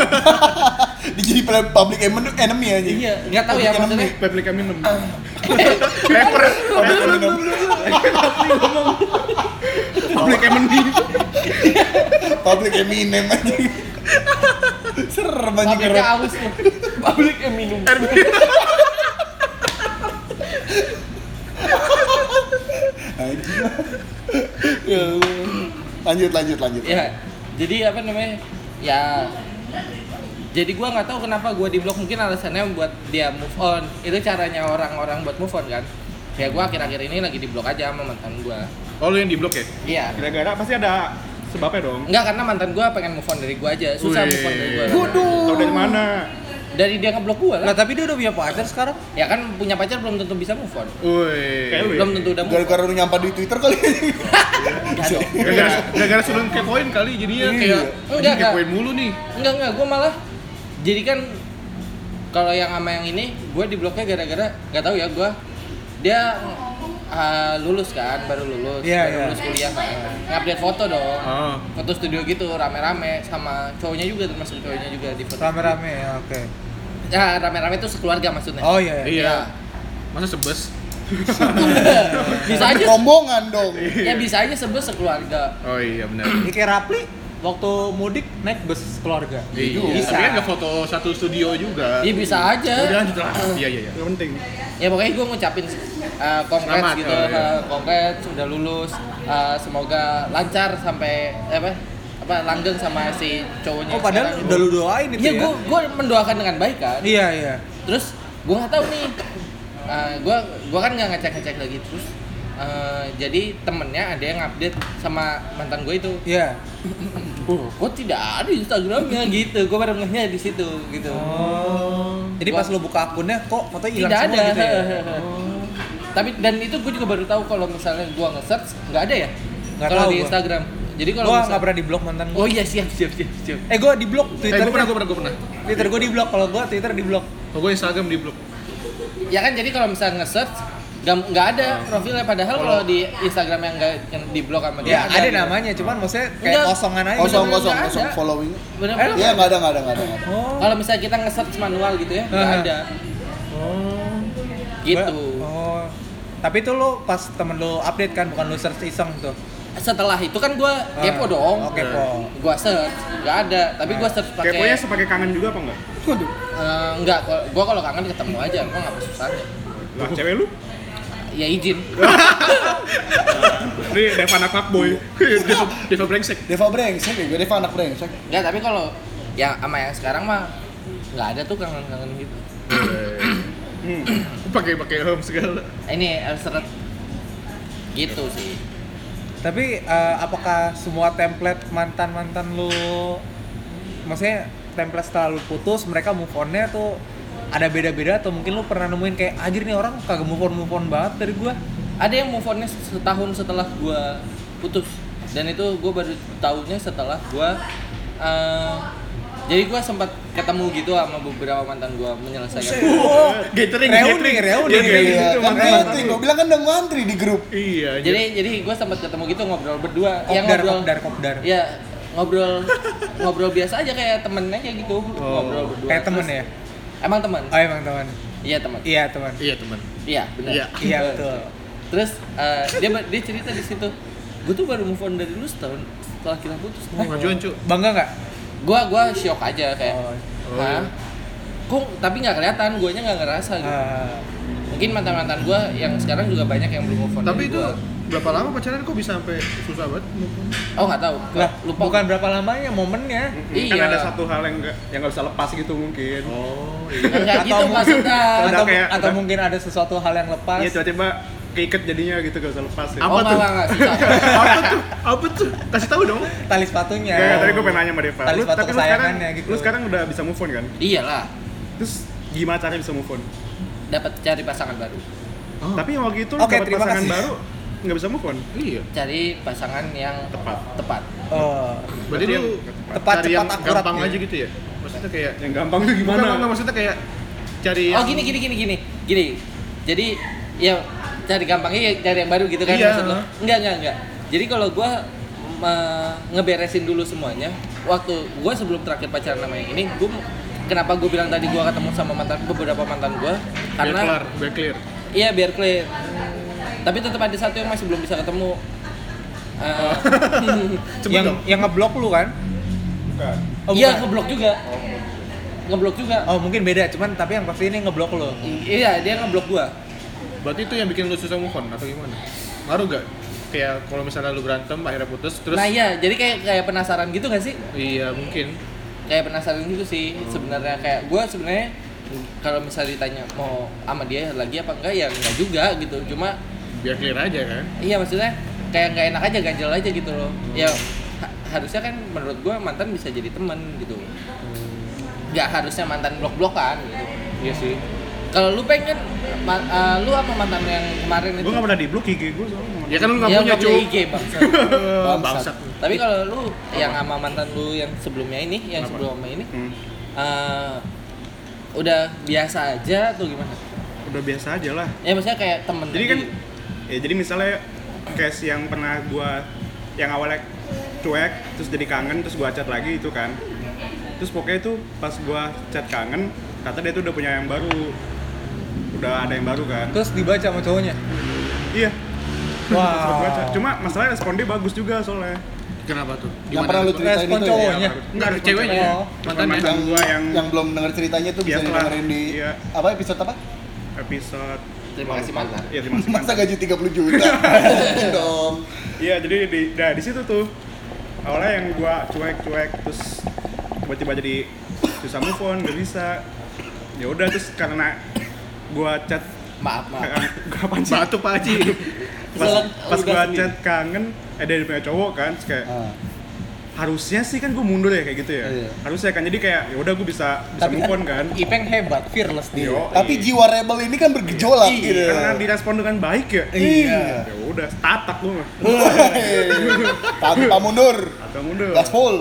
[SPEAKER 4] Dia jadi public enemy anjing
[SPEAKER 5] iya nggak tahu ya maksudnya
[SPEAKER 2] Public kami nem.
[SPEAKER 3] rapper rapper public enemy
[SPEAKER 4] public Eminem anjing serem anjing
[SPEAKER 5] pabriknya
[SPEAKER 4] keren
[SPEAKER 5] aus tuh pabrik yang minum
[SPEAKER 4] anjing ya Allah. lanjut lanjut lanjut
[SPEAKER 5] ya jadi apa namanya ya jadi gue nggak tahu kenapa gue di blok mungkin alasannya buat dia move on itu caranya orang-orang buat move on kan kayak gue akhir-akhir ini lagi di blok aja sama mantan gue
[SPEAKER 2] Oh lu yang di blok ya?
[SPEAKER 5] iya
[SPEAKER 3] gara-gara pasti ada sebabnya dong
[SPEAKER 5] Enggak karena mantan gue pengen move on dari gue aja susah
[SPEAKER 2] Wih.
[SPEAKER 5] move on dari gue
[SPEAKER 3] tau dari mana
[SPEAKER 5] dari dia ngeblok gue lah
[SPEAKER 1] Lah tapi dia udah punya pacar sekarang.
[SPEAKER 5] ya kan punya pacar belum tentu bisa move on
[SPEAKER 3] Kayak lu
[SPEAKER 2] Woi.
[SPEAKER 3] ya?
[SPEAKER 5] belum tentu udah move on
[SPEAKER 4] gara-gara lu nyampah di twitter kali
[SPEAKER 5] Enggak,
[SPEAKER 2] Gara-gara gara-gara suruh kepoin kali jadinya
[SPEAKER 4] Iya.
[SPEAKER 2] kayak
[SPEAKER 5] Enggak,
[SPEAKER 2] anjing
[SPEAKER 5] enggak.
[SPEAKER 2] kepoin mulu nih.
[SPEAKER 5] enggak enggak gue malah jadi kan kalau yang sama yang ini gue di bloknya gara-gara nggak tahu ya gue dia uh, lulus kan baru lulus
[SPEAKER 1] Iya,
[SPEAKER 5] baru
[SPEAKER 1] iya.
[SPEAKER 5] lulus kuliah kan ngupdate foto dong
[SPEAKER 2] Ah.
[SPEAKER 5] foto studio gitu rame-rame sama cowoknya juga termasuk cowoknya juga di foto
[SPEAKER 1] Rame-rame ya, oke.
[SPEAKER 5] ya rame-rame itu sekeluarga maksudnya
[SPEAKER 1] Oh iya. iya.
[SPEAKER 2] Iya. Masa sebes?
[SPEAKER 5] bisa aja
[SPEAKER 4] rombongan dong
[SPEAKER 5] ya bisa aja sebut sekeluarga
[SPEAKER 2] Oh iya benar.
[SPEAKER 1] Ini kayak Rapli waktu mudik naik bus keluarga.
[SPEAKER 2] Iya,
[SPEAKER 5] Bisa.
[SPEAKER 2] tapi kan nggak foto satu studio juga.
[SPEAKER 5] ya bisa aja
[SPEAKER 2] Udah lanjut lah. Iya iya iya.
[SPEAKER 3] gak penting
[SPEAKER 5] ya pokoknya gue ngucapin uh, congrats
[SPEAKER 2] Selamat,
[SPEAKER 1] ya,
[SPEAKER 5] gitu
[SPEAKER 2] oh, iya.
[SPEAKER 5] uh, congrats sudah lulus uh, semoga lancar sampai eh, apa apa langgeng sama si cowoknya
[SPEAKER 1] Oh padahal udah lu doain itu
[SPEAKER 5] iya
[SPEAKER 1] ya.
[SPEAKER 5] gue gue mendoakan dengan baik kan
[SPEAKER 1] Iya, iya.
[SPEAKER 5] terus gue nggak tahu nih uh, gue gue kan nggak ngecek ngecek lagi terus uh, jadi temennya ada yang update sama mantan gue itu
[SPEAKER 1] Iya.
[SPEAKER 5] oh kok tidak ada instagramnya gitu gue baru ngehnya di situ gitu
[SPEAKER 1] Oh. Jadi
[SPEAKER 5] Gua-
[SPEAKER 1] pas lu buka akunnya kok foto hilang
[SPEAKER 5] tidak
[SPEAKER 1] semua
[SPEAKER 5] ada
[SPEAKER 1] gitu ya.
[SPEAKER 5] Oh. tapi dan itu gue juga baru tahu kalau misalnya gue nge-search nggak ada ya
[SPEAKER 1] Nggak
[SPEAKER 5] kalau
[SPEAKER 1] tahu
[SPEAKER 5] di
[SPEAKER 1] gua.
[SPEAKER 5] Instagram jadi kalau
[SPEAKER 1] Gua
[SPEAKER 5] misal-
[SPEAKER 1] nggak pernah di blok mantan gua.
[SPEAKER 5] oh iya siap siap siap siap
[SPEAKER 1] Eh gua di blok
[SPEAKER 2] Eh,
[SPEAKER 1] Twitter. kan-
[SPEAKER 2] gue pernah, gue pernah, gue pernah.
[SPEAKER 1] Twitter gua di blok kalau gua Twitter di blok.
[SPEAKER 2] Oh, gue Instagram di blok.
[SPEAKER 5] ya kan jadi kalau misalnya nge-search nggak nggak ada
[SPEAKER 1] Nah.
[SPEAKER 5] profilnya padahal kalau di Instagram yang nggak yang di blok sama dia
[SPEAKER 1] Ya, ada
[SPEAKER 5] gitu.
[SPEAKER 1] namanya cuman maksudnya kayak
[SPEAKER 5] Enggak.
[SPEAKER 1] kosongan aja.
[SPEAKER 5] Kosong.
[SPEAKER 4] kosong kosong kosong following
[SPEAKER 5] Bener-bener.
[SPEAKER 4] Iya nggak ada nggak ada nggak ada nggak ada.
[SPEAKER 1] Oh.
[SPEAKER 5] kalau misalnya kita nge-search manual gitu ya nggak
[SPEAKER 1] Aha.
[SPEAKER 5] ada
[SPEAKER 1] Oh.
[SPEAKER 5] gitu
[SPEAKER 1] Nah. Oh. Tapi itu lo pas temen lo update kan bukan lo search iseng tuh.
[SPEAKER 5] setelah itu kan gue kepo dong
[SPEAKER 1] Oh, kepo. Nah.
[SPEAKER 5] gue search nggak ada tapi gue search pakai
[SPEAKER 3] keponya sepakai kangen juga apa enggak
[SPEAKER 5] Eh, enggak, gue kalau kangen ketemu aja, gue nggak pesusannya.
[SPEAKER 3] lah cewek lu
[SPEAKER 5] Ya izin.
[SPEAKER 3] ini Devan anak fuckboy
[SPEAKER 2] Deva, Deva brengsek.
[SPEAKER 4] Deva brengsek ya gue Deva anak brengsek
[SPEAKER 5] Enggak, tapi kalau yang sama yang sekarang mah nggak ada tuh kangen-kangen gitu.
[SPEAKER 2] Pakai pakai home segala.
[SPEAKER 5] Eh, Ini eh, seret gitu sih.
[SPEAKER 1] Tapi eh, apakah semua template mantan-mantan lo maksudnya template setelah lo putus mereka move on-nya tuh ada beda-beda atau mungkin lo pernah nemuin kayak anjir nih orang kagak move on move on banget dari gua.
[SPEAKER 5] Ada yang move on-nya setahun setelah gue putus. dan itu gue baru tahunya setelah gue eh, jadi gue sempat ketemu gitu sama beberapa mantan gue menyelesaikan
[SPEAKER 1] Oh,
[SPEAKER 2] Gathering,
[SPEAKER 1] reuni, reuni.
[SPEAKER 4] Iya,
[SPEAKER 2] gitu,
[SPEAKER 4] kan
[SPEAKER 2] makanya.
[SPEAKER 4] ngantri, gua bilang kan udah ngantri di grup
[SPEAKER 2] Iya,
[SPEAKER 5] jadi jadi gue sempat ketemu gitu ngobrol berdua
[SPEAKER 1] Kopdar, kopdar, kopdar.
[SPEAKER 5] ya ngobrol ngobrol biasa aja kayak temen aja gitu ngobrol berdua
[SPEAKER 1] Oh. Kayak temen
[SPEAKER 5] Terus-
[SPEAKER 1] ya?
[SPEAKER 5] emang temen
[SPEAKER 1] Oh emang teman.
[SPEAKER 5] iya temen
[SPEAKER 1] Iya teman.
[SPEAKER 2] iya teman.
[SPEAKER 5] iya benar
[SPEAKER 2] Iya.
[SPEAKER 1] Iya betul.
[SPEAKER 5] terus eh, dia ba- dia cerita di situ gue tuh baru move on dari lu setahun setelah kita putus
[SPEAKER 2] Majuan cu.
[SPEAKER 1] Bangga nggak?
[SPEAKER 5] gue gua shock aja kayak
[SPEAKER 1] Oh.
[SPEAKER 2] Oh.
[SPEAKER 5] Hah? kok tapi nggak kelihatan guanya nggak ngerasa gitu
[SPEAKER 1] Ah,
[SPEAKER 5] mungkin mantan mantan gue yang sekarang juga banyak yang belum move on
[SPEAKER 2] Tapi
[SPEAKER 5] dari
[SPEAKER 2] itu
[SPEAKER 5] gua.
[SPEAKER 2] berapa lama pacaran kok bisa sampai susah banget?
[SPEAKER 5] oh nggak tahu Gua
[SPEAKER 1] lah,
[SPEAKER 5] lupa
[SPEAKER 1] bukan berapa lamanya momennya.
[SPEAKER 5] Iya.
[SPEAKER 3] Kan ada satu hal yang nggak yang nggak bisa lepas gitu mungkin.
[SPEAKER 2] Oh,
[SPEAKER 5] nggak
[SPEAKER 1] Atau
[SPEAKER 5] gitu
[SPEAKER 1] mungkin-
[SPEAKER 5] maksudnya
[SPEAKER 1] atau
[SPEAKER 3] Udah kayak-
[SPEAKER 1] atau
[SPEAKER 3] udah.
[SPEAKER 1] mungkin ada sesuatu hal yang lepas.
[SPEAKER 3] Iya tiba-tiba keiket jadinya gitu gak bisa lepas ya.
[SPEAKER 2] Apa
[SPEAKER 5] oh, nggak,
[SPEAKER 2] tuh?
[SPEAKER 5] nggak, nggak, susah.
[SPEAKER 2] apa tuh? Apa tuh? Kasih tahu dong.
[SPEAKER 1] Tali sepatunya.
[SPEAKER 3] Gak, gak, tapi gue iya, pengen nanya sama Deva.
[SPEAKER 1] Tali sepatu
[SPEAKER 3] Lu, tapi lu sekarang,
[SPEAKER 1] kesayangannya gitu.
[SPEAKER 3] lu sekarang udah bisa move on kan?
[SPEAKER 5] iyalah
[SPEAKER 3] Terus gimana caranya bisa move on?
[SPEAKER 5] dapat cari pasangan baru
[SPEAKER 3] Tapi waktu itu lu
[SPEAKER 1] Oke,
[SPEAKER 3] dapet
[SPEAKER 1] terima
[SPEAKER 3] pasangan
[SPEAKER 1] kasih.
[SPEAKER 3] baru nggak bisa move on.
[SPEAKER 2] Iya.
[SPEAKER 5] cari pasangan yang
[SPEAKER 3] Tepat.
[SPEAKER 5] tepat
[SPEAKER 1] Oh,
[SPEAKER 2] Berarti
[SPEAKER 3] Berarti
[SPEAKER 2] lu
[SPEAKER 3] yang
[SPEAKER 1] tepat,
[SPEAKER 2] cari yang
[SPEAKER 1] cepat, akurat
[SPEAKER 2] gampang
[SPEAKER 1] gitu.
[SPEAKER 2] aja gitu ya? Maksudnya kayak
[SPEAKER 3] Yang gampang tuh
[SPEAKER 2] gimana?
[SPEAKER 3] gimana?
[SPEAKER 2] Enggak, enggak, maksudnya kayak cari
[SPEAKER 5] oh gini gini gini gini gini jadi ya cari gampangnya ya cari yang baru gitu kan
[SPEAKER 2] Iya.
[SPEAKER 5] maksud lo enggak enggak enggak jadi kalau gua me- ngeberesin dulu semuanya waktu gua sebelum terakhir pacaran sama yang ini gua kenapa gua bilang tadi gua ketemu sama mantan beberapa mantan gua
[SPEAKER 2] biar
[SPEAKER 5] karena
[SPEAKER 2] kelar, biar clear.
[SPEAKER 5] Iya biar clear. Tapi tetap ada satu yang masih belum bisa ketemu. Eh,
[SPEAKER 2] Cepet
[SPEAKER 1] yang
[SPEAKER 2] dong.
[SPEAKER 1] yang ngeblok lu kan?
[SPEAKER 3] Bukan.
[SPEAKER 1] Oh,
[SPEAKER 5] Iya
[SPEAKER 1] bukan.
[SPEAKER 5] ngeblok juga. Ngeblok juga.
[SPEAKER 1] Oh, mungkin beda, cuman tapi yang pasti ini ngeblok lu.
[SPEAKER 5] Iya dia ngeblok gua.
[SPEAKER 2] Berarti itu yang bikin lu susah move on atau gimana? Ngaruh gak? Kayak kalau misalnya lu berantem akhirnya putus terus
[SPEAKER 5] Nah iya jadi kayak kayak penasaran gitu gak sih?
[SPEAKER 2] Iya, mungkin.
[SPEAKER 5] Kayak penasaran gitu sih sebenarnya kayak gua sebenarnya kalau misalnya ditanya mau sama dia lagi apa enggak ya enggak juga gitu. Cuma
[SPEAKER 2] Biar clear aja kan.
[SPEAKER 5] iya maksudnya kayak nggak enak aja ganjel aja gitu loh. Ya ha- harusnya kan menurut gua mantan bisa jadi temen gitu. Nggak harusnya mantan blok-blokan gitu.
[SPEAKER 2] Iya sih.
[SPEAKER 5] Kalau lu pengen ma- eh, lu apa mantan yang kemarin itu?
[SPEAKER 3] Gue gak pernah di blok IG gue soalnya.
[SPEAKER 2] Ya kan lu
[SPEAKER 5] Ya,
[SPEAKER 2] nggak punya,
[SPEAKER 5] nggak
[SPEAKER 2] cu.
[SPEAKER 5] IG bangsa.
[SPEAKER 2] Bangsat.
[SPEAKER 5] Tapi kalau lu yang sama mantan lu yang sebelumnya ini, yang
[SPEAKER 3] Apa?
[SPEAKER 5] sebelum sama ini
[SPEAKER 3] Hmm.
[SPEAKER 5] eh, udah biasa aja atau gimana?
[SPEAKER 3] Udah biasa aja lah.
[SPEAKER 5] Ya maksudnya kayak temen
[SPEAKER 3] Jadi kan ya jadi misalnya case yang pernah gua yang awalnya cuek terus jadi kangen terus gua chat lagi itu kan. Terus pokoknya itu pas gua chat kangen kata dia tuh udah punya yang baru. Udah ada yang baru kan.
[SPEAKER 1] Terus dibaca sama cowoknya.
[SPEAKER 3] Iya. Sempet gua chat.
[SPEAKER 1] Wah.
[SPEAKER 3] Cuma masalahnya respon dia bagus juga soalnya.
[SPEAKER 2] Kenapa tuh?
[SPEAKER 4] Yang pernah lu ceritain
[SPEAKER 1] Respon
[SPEAKER 4] itu ya?
[SPEAKER 1] cowoknya.
[SPEAKER 2] Enggak,
[SPEAKER 3] Respon
[SPEAKER 2] ceweknya. ya?
[SPEAKER 3] ceweknya.
[SPEAKER 2] Mantannya.
[SPEAKER 3] Mantan gua yang,
[SPEAKER 4] yang belum denger ceritanya tuh bisa
[SPEAKER 3] Biasa.
[SPEAKER 4] dengerin di
[SPEAKER 3] Iya.
[SPEAKER 4] apa episode apa?
[SPEAKER 3] episode
[SPEAKER 5] terima kasih mantan.
[SPEAKER 3] ya terima kasih.
[SPEAKER 4] Masa gaji 30 juta. Dong.
[SPEAKER 3] Iya, jadi di nah, di situ tuh awalnya yang gua cuek-cuek terus tiba-tiba jadi susah move on, gak bisa. Ya udah terus karena gua chat
[SPEAKER 5] Maaf, maaf.
[SPEAKER 3] gua apaan sih?
[SPEAKER 2] Batu Pak Haji. Eh,
[SPEAKER 3] Pas,
[SPEAKER 5] Kesalahan
[SPEAKER 3] pas
[SPEAKER 5] udah
[SPEAKER 3] gua
[SPEAKER 5] sendiri.
[SPEAKER 3] chat kangen, eh dari punya cowok kan, terus kayak
[SPEAKER 4] gitu. Ah.
[SPEAKER 3] harusnya sih kan gua mundur ya kayak gitu ya.
[SPEAKER 4] Iya.
[SPEAKER 3] Harusnya kan jadi kayak ya udah gua bisa bisa move on kan.
[SPEAKER 1] Ipeng hebat, fearless dia.
[SPEAKER 3] Yo,
[SPEAKER 4] Tapi
[SPEAKER 3] iya.
[SPEAKER 4] jiwa rebel ini kan bergejolak
[SPEAKER 3] Iya,
[SPEAKER 4] gitu.
[SPEAKER 3] karena direspon dengan baik ya.
[SPEAKER 4] Iya.
[SPEAKER 3] Ya udah, tatak lu mah.
[SPEAKER 4] Tanpa mundur.
[SPEAKER 3] Atau mundur.
[SPEAKER 4] Gas full.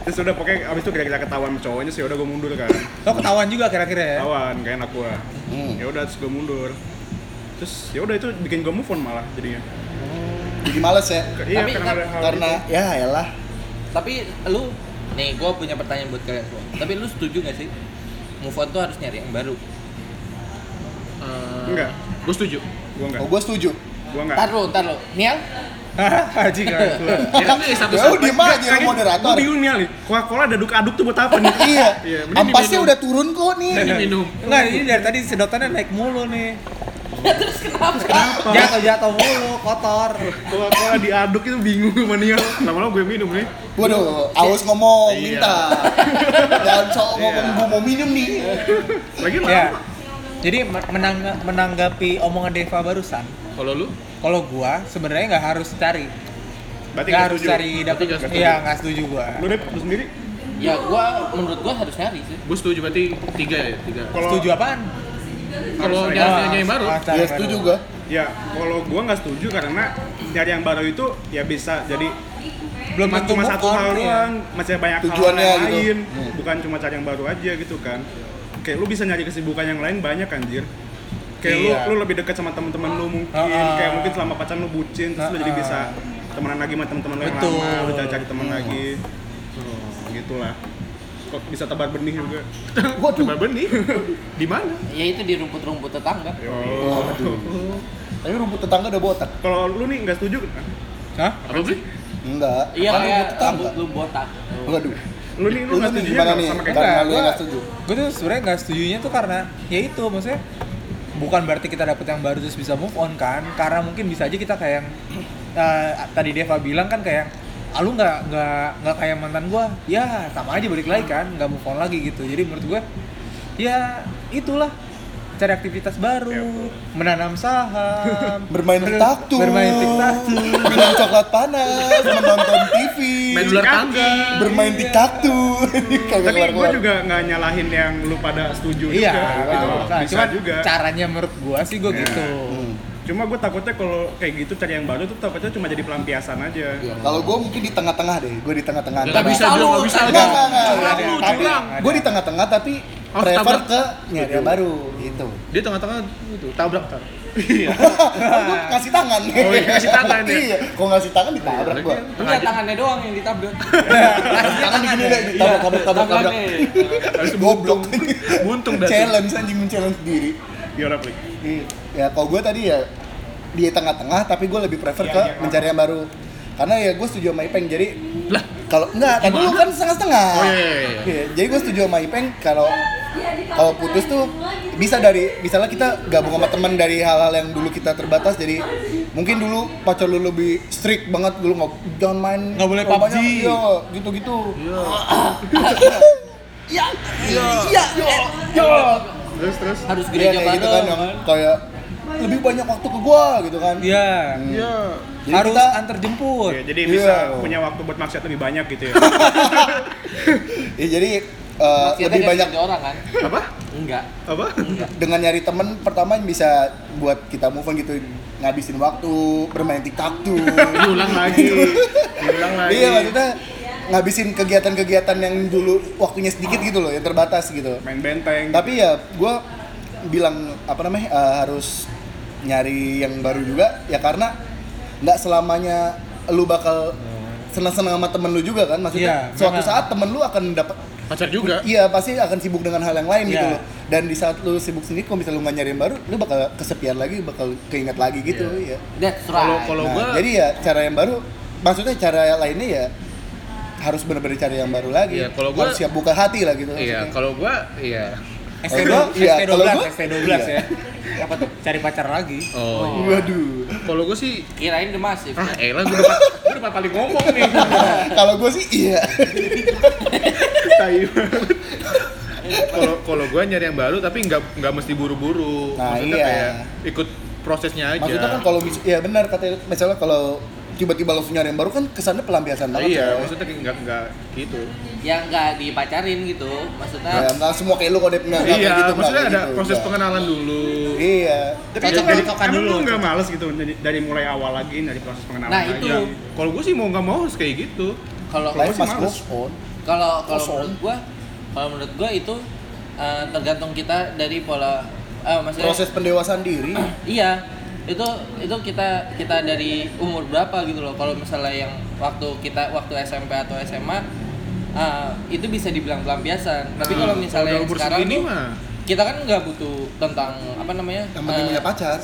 [SPEAKER 3] Terus udah pokoknya abis itu kira-kira ketahuan sama cowoknya sih udah gua mundur kan.
[SPEAKER 1] Lo Oh, ketahuan juga kira-kira ya.
[SPEAKER 3] ketahuan gak enak gua
[SPEAKER 4] Hmm.
[SPEAKER 3] ya udah terus gua mundur terus ya udah itu bikin gua move on malah jadinya
[SPEAKER 4] Jadi males ya.
[SPEAKER 3] Ke- iya
[SPEAKER 5] Tapi-
[SPEAKER 3] karena ada hal
[SPEAKER 4] Karena ya elah.
[SPEAKER 5] Tapi lu nih gua punya pertanyaan buat kalian semua. Tapi lu setuju gak sih? Move on tuh harus nyari yang baru.
[SPEAKER 2] Eh,
[SPEAKER 3] Enggak.
[SPEAKER 2] Gue setuju.
[SPEAKER 3] itu. gua enggak
[SPEAKER 4] Oh, gua setuju.
[SPEAKER 3] gua enggak
[SPEAKER 5] Ntar lu, ntar lu. Nial?
[SPEAKER 1] Haji kan.
[SPEAKER 2] Ya kan ini satu
[SPEAKER 4] Ya lu diem aja lu
[SPEAKER 3] Kayaknya
[SPEAKER 4] moderator.
[SPEAKER 3] gua bingung nih Ali Coca Cola ada aduk aduk tuh buat apa nih
[SPEAKER 4] Iya.
[SPEAKER 2] Iya, mending
[SPEAKER 4] Ampasnya
[SPEAKER 2] diminum.
[SPEAKER 4] udah turun kok
[SPEAKER 3] Iya.
[SPEAKER 4] nih.
[SPEAKER 2] minum.
[SPEAKER 1] Enggak, ini dari tadi sedotannya naik mulu nih.
[SPEAKER 5] Terus kenapa?
[SPEAKER 1] Jatuh-jatuh mulu, kotor.
[SPEAKER 3] Coca Cola diaduk itu bingung gua nih lama-lama gue minum nih
[SPEAKER 4] Waduh, aus ngomong,
[SPEAKER 2] Iya.
[SPEAKER 4] minta. Jangan sok ngomong
[SPEAKER 3] Iya.
[SPEAKER 4] gua mau minum nih.
[SPEAKER 5] Iya,
[SPEAKER 3] lagi
[SPEAKER 1] Ya.
[SPEAKER 3] lama
[SPEAKER 1] Jadi menang- menanggapi omongan Deva barusan,
[SPEAKER 2] Kalau lu?
[SPEAKER 1] kalau gua sebenarnya nggak harus cari,
[SPEAKER 3] berarti
[SPEAKER 1] nggak
[SPEAKER 3] nggak
[SPEAKER 1] harus
[SPEAKER 3] setuju.
[SPEAKER 1] cari
[SPEAKER 2] Berarti
[SPEAKER 1] dapet.
[SPEAKER 2] nggak setuju.
[SPEAKER 1] Iya nggak setuju gua.
[SPEAKER 3] lu deh lu sendiri
[SPEAKER 5] Ya gua menurut gua harus nyari sih.
[SPEAKER 2] Gue setuju berarti tiga ya, tiga.
[SPEAKER 3] kalau
[SPEAKER 1] Setuju apaan?
[SPEAKER 2] Kalau
[SPEAKER 3] Harus
[SPEAKER 2] nyari
[SPEAKER 1] Ah,
[SPEAKER 2] nyari yang baru,
[SPEAKER 1] ah, cari
[SPEAKER 4] Ya
[SPEAKER 1] baru.
[SPEAKER 4] setuju gua.
[SPEAKER 3] ya kalau gua nggak setuju karena nyari yang baru itu ya bisa jadi
[SPEAKER 1] Belum
[SPEAKER 3] cuma,
[SPEAKER 1] tentu
[SPEAKER 3] cuma
[SPEAKER 1] move
[SPEAKER 3] satu
[SPEAKER 1] on,
[SPEAKER 3] hal
[SPEAKER 1] ya.
[SPEAKER 3] doang masih banyak
[SPEAKER 4] Tujuannya
[SPEAKER 3] hal yang
[SPEAKER 4] gitu.
[SPEAKER 3] lain
[SPEAKER 4] Hmm.
[SPEAKER 3] bukan cuma cari yang baru aja gitu kan kayak lu bisa nyari kesibukan yang lain banyak anjir kayak
[SPEAKER 1] Iya.
[SPEAKER 3] lu lu lebih dekat sama teman-teman lu mungkin
[SPEAKER 1] Ha-ha.
[SPEAKER 3] kayak mungkin selama pacaran lu bucin terus lu jadi
[SPEAKER 1] Ha-ha.
[SPEAKER 3] bisa temenan lagi sama teman-teman lu yang
[SPEAKER 1] Betul.
[SPEAKER 3] lama lu cari cari teman lagi Hmm, gitulah kok bisa tebar benih juga
[SPEAKER 4] Waduh.
[SPEAKER 2] Coba benih. Di mana?
[SPEAKER 5] ya itu di rumput-rumput tetangga
[SPEAKER 4] Waduh. Tapi rumput tetangga udah botak.
[SPEAKER 3] kalau lu nih nggak setuju kan?
[SPEAKER 1] Hah?
[SPEAKER 2] Apa sih?
[SPEAKER 4] Enggak.
[SPEAKER 5] iya
[SPEAKER 4] kan rumput
[SPEAKER 5] kayak
[SPEAKER 4] tetangga.
[SPEAKER 5] rambut lu botak
[SPEAKER 4] Waduh.
[SPEAKER 3] lu nih lu
[SPEAKER 4] Lu
[SPEAKER 3] nggak
[SPEAKER 4] nih
[SPEAKER 3] setuju
[SPEAKER 4] gimana
[SPEAKER 2] ya,
[SPEAKER 3] nggak
[SPEAKER 4] nih?
[SPEAKER 3] sama kayak
[SPEAKER 4] Karena lu
[SPEAKER 1] Nah, gua-
[SPEAKER 4] yang Nah, nggak setuju.
[SPEAKER 1] gue tuh sebenarnya nggak setujunya tuh karena ya itu maksudnya bukan berarti kita dapet yang baru terus bisa move on kan karena mungkin bisa aja kita kayak yang eh, tadi Deva bilang kan kayak ah, lu nggak nggak nggak kayak mantan gua ya sama aja balik lagi kan nggak move on lagi gitu jadi menurut gue ya itulah cari aktivitas baru menanam saham
[SPEAKER 4] Iya. Bermain
[SPEAKER 1] ber-
[SPEAKER 4] tiktaktu.
[SPEAKER 1] bermain tiktaktu
[SPEAKER 4] Minum coklat panas, menonton TV.
[SPEAKER 2] Main ular tangga.
[SPEAKER 4] bermain tiktaktu. Kagak
[SPEAKER 3] tapi gue
[SPEAKER 4] keluar-keluar.
[SPEAKER 3] juga nggak nyalahin yang lu pada setuju
[SPEAKER 1] iya
[SPEAKER 3] juga gitu loh.
[SPEAKER 1] kan.
[SPEAKER 3] bisa
[SPEAKER 1] Cuman
[SPEAKER 3] juga
[SPEAKER 1] caranya menurut gua sih gua
[SPEAKER 3] Ya.
[SPEAKER 1] gitu
[SPEAKER 4] Hmm.
[SPEAKER 3] cuma gue takutnya kalau kayak gitu cari yang baru tuh takutnya cuma jadi pelampiasan aja
[SPEAKER 4] Iya. Kalau gue mungkin di tengah-tengah deh, gue di tengah-tengah.
[SPEAKER 2] Nggak bisa,
[SPEAKER 5] Salah
[SPEAKER 2] Jul,
[SPEAKER 5] lu,
[SPEAKER 2] nggak bisa.
[SPEAKER 5] salah
[SPEAKER 4] Enggak,
[SPEAKER 2] Jul.
[SPEAKER 4] enggak, enggak.
[SPEAKER 2] Curang lu,
[SPEAKER 4] Tapi
[SPEAKER 2] curang.
[SPEAKER 4] gue di tengah-tengah tapi
[SPEAKER 2] Oh,
[SPEAKER 4] prefer
[SPEAKER 2] tabrak.
[SPEAKER 4] ke nyari yang baru gitu.
[SPEAKER 2] Dia tengah-tengah itu tabrak tar.
[SPEAKER 4] Iya, Kan gue ngasih tangan.
[SPEAKER 2] Oh, iya, ngasih tangan ya? Iya,
[SPEAKER 4] Iya, kalau ngasih tangan ditabrak gue.
[SPEAKER 5] enggak Ya, tangannya doang yang ditabrak
[SPEAKER 4] Tangan begini deh, ditabrak, tabrak, tabrak, tabrak.
[SPEAKER 2] Harus
[SPEAKER 4] Goblok.
[SPEAKER 2] buntung dah.
[SPEAKER 4] Challenge anjing men-challenge sendiri.
[SPEAKER 3] ya Rapli
[SPEAKER 4] Iya. Ya kalau gue tadi ya di tengah-tengah tapi gue lebih prefer
[SPEAKER 3] Iya,
[SPEAKER 4] ke
[SPEAKER 3] iya,
[SPEAKER 4] mencari yang baru. Karena ya gue setuju sama Ipeng jadi
[SPEAKER 2] Lah,
[SPEAKER 4] kalau enggak tadi lu kan setengah-setengah.
[SPEAKER 2] Oh, iya, iya, iya.
[SPEAKER 4] Iya, Jadi gue setuju sama Ipeng kalau kalau putus tuh bisa dari misalnya kita gabung sama teman dari hal-hal yang dulu kita terbatas jadi mungkin dulu pacar lu lebih strict banget dulu nggak jangan main
[SPEAKER 1] Nggak boleh
[SPEAKER 4] terlalu
[SPEAKER 1] PUBG.
[SPEAKER 4] banyak, iya gitu-gitu
[SPEAKER 2] Iya.
[SPEAKER 4] Iya.
[SPEAKER 2] Iya. terus terus.
[SPEAKER 5] harus
[SPEAKER 4] Iya,
[SPEAKER 5] gereja
[SPEAKER 4] kayak gitu kan yang
[SPEAKER 5] bareng
[SPEAKER 4] kayak lebih banyak waktu ke gua gitu kan
[SPEAKER 1] Iya.
[SPEAKER 2] Iya.
[SPEAKER 4] Jadi
[SPEAKER 1] harus
[SPEAKER 4] kita-
[SPEAKER 5] Kan
[SPEAKER 1] antar jemput
[SPEAKER 3] Ya, jadi bisa
[SPEAKER 4] Iya.
[SPEAKER 3] punya waktu buat maksiat lebih banyak gitu ya
[SPEAKER 4] Ya, jadi uh, lebih banyak
[SPEAKER 1] gitu.
[SPEAKER 5] orang kan
[SPEAKER 2] Apa?
[SPEAKER 5] enggak
[SPEAKER 2] Apa?
[SPEAKER 4] dengan nyari temen pertama bisa buat kita move on gitu ngabisin waktu bermain tiktok tuh
[SPEAKER 2] Diulang lagi. Diulang lagi.
[SPEAKER 4] iya maksudnya ngabisin kegiatan-kegiatan yang dulu waktunya sedikit gitu loh yang terbatas gitu
[SPEAKER 3] main benteng
[SPEAKER 4] tapi ya gue bilang apa namanya eh, harus nyari yang baru juga ya karena nggak selamanya lu bakal senang-senang sama temen lu juga kan maksudnya
[SPEAKER 1] Iya,
[SPEAKER 4] suatu
[SPEAKER 1] benar.
[SPEAKER 4] saat temen lu akan dapat
[SPEAKER 2] Pacar juga.
[SPEAKER 4] Iya pasti akan sibuk dengan hal yang lain gitu
[SPEAKER 1] Iya.
[SPEAKER 4] loh. Dan di saat lu sibuk sendiri, kalau misalnya lu nggak nyari yang baru, lu bakal kesepian lagi, bakal keinget lagi gitu. Iya.
[SPEAKER 5] that's
[SPEAKER 2] Kalau
[SPEAKER 5] right
[SPEAKER 2] kalau
[SPEAKER 4] Nah,
[SPEAKER 2] gua iya,
[SPEAKER 4] jadi ya cara yang baru, maksudnya cara lainnya ya harus benar-benar cari yang baru lagi.
[SPEAKER 2] Iya, kalau gua-
[SPEAKER 4] harus siap buka hati lah gitu.
[SPEAKER 2] Iya,
[SPEAKER 4] maksudnya.
[SPEAKER 2] kalau gua iya.
[SPEAKER 1] ST12
[SPEAKER 4] Kalau gua- iya, kalau gua-
[SPEAKER 1] ST12 ya.
[SPEAKER 4] iya.
[SPEAKER 1] Apa tuh? Cari pacar lagi.
[SPEAKER 2] Oh. iya.
[SPEAKER 4] Waduh.
[SPEAKER 2] Kalau gua sih
[SPEAKER 5] kirain the masif
[SPEAKER 2] ah elah gua udah gua udah empat kali ngomong nih.
[SPEAKER 4] kalau gue sih iya.
[SPEAKER 2] Tai banget. Kalau kalau gua nyari yang baru tapi nggak nggak mesti buru-buru.
[SPEAKER 4] Nah,
[SPEAKER 2] Maksudnya
[SPEAKER 4] iya.
[SPEAKER 2] kayak ikut prosesnya aja.
[SPEAKER 4] maksudnya kan kalau mis- ya benar katanya misalnya kalau tiba-tiba langsung nyari yang baru kan kesannya pelampiasan
[SPEAKER 2] Nah,
[SPEAKER 4] banget.
[SPEAKER 2] iya,
[SPEAKER 4] coy.
[SPEAKER 2] maksudnya kayak nggak nggak gitu.
[SPEAKER 5] yang enggak Ya, dipacarin gitu maksudnya
[SPEAKER 4] Ya, nggak semua kayak lu kode nggak nggak
[SPEAKER 2] Nah. iya,
[SPEAKER 4] kayak gitu, nggak
[SPEAKER 2] maksudnya
[SPEAKER 4] kayak
[SPEAKER 2] ada
[SPEAKER 4] gitu,
[SPEAKER 2] proses kan
[SPEAKER 4] nggak.
[SPEAKER 2] pengenalan dulu.
[SPEAKER 4] Iya.
[SPEAKER 3] tapi
[SPEAKER 1] Cocok
[SPEAKER 3] emang-
[SPEAKER 1] cocokan
[SPEAKER 3] emang
[SPEAKER 1] dulu,
[SPEAKER 3] lu nggak males gitu dari, dari mulai awal lagi dari proses pengenalan
[SPEAKER 5] Nah,
[SPEAKER 3] aja.
[SPEAKER 5] itu.
[SPEAKER 2] Ya, kalau gue sih mau nggak mau harus kayak gitu.
[SPEAKER 5] kalau
[SPEAKER 4] Life must
[SPEAKER 3] sih males.
[SPEAKER 4] goes on.
[SPEAKER 2] Iya.
[SPEAKER 4] Oh,
[SPEAKER 5] kalau kalau
[SPEAKER 4] Kosong.
[SPEAKER 5] menurut gua kalau menurut gua itu eh, tergantung kita dari pola eh, maksudnya
[SPEAKER 4] proses pendewasaan diri
[SPEAKER 5] iya itu itu kita kita dari umur berapa gitu loh kalau misalnya yang waktu kita waktu SMP atau SMA ah, itu bisa dibilang pelampiasan tapi kalau
[SPEAKER 4] Hmm.
[SPEAKER 2] udah
[SPEAKER 5] misalnya yang
[SPEAKER 2] umur
[SPEAKER 5] sekarang
[SPEAKER 2] segini
[SPEAKER 5] tuh,
[SPEAKER 2] mah. iya,
[SPEAKER 5] kita kan nggak butuh tentang apa namanya
[SPEAKER 4] yang penting
[SPEAKER 5] eh,
[SPEAKER 4] punya pacar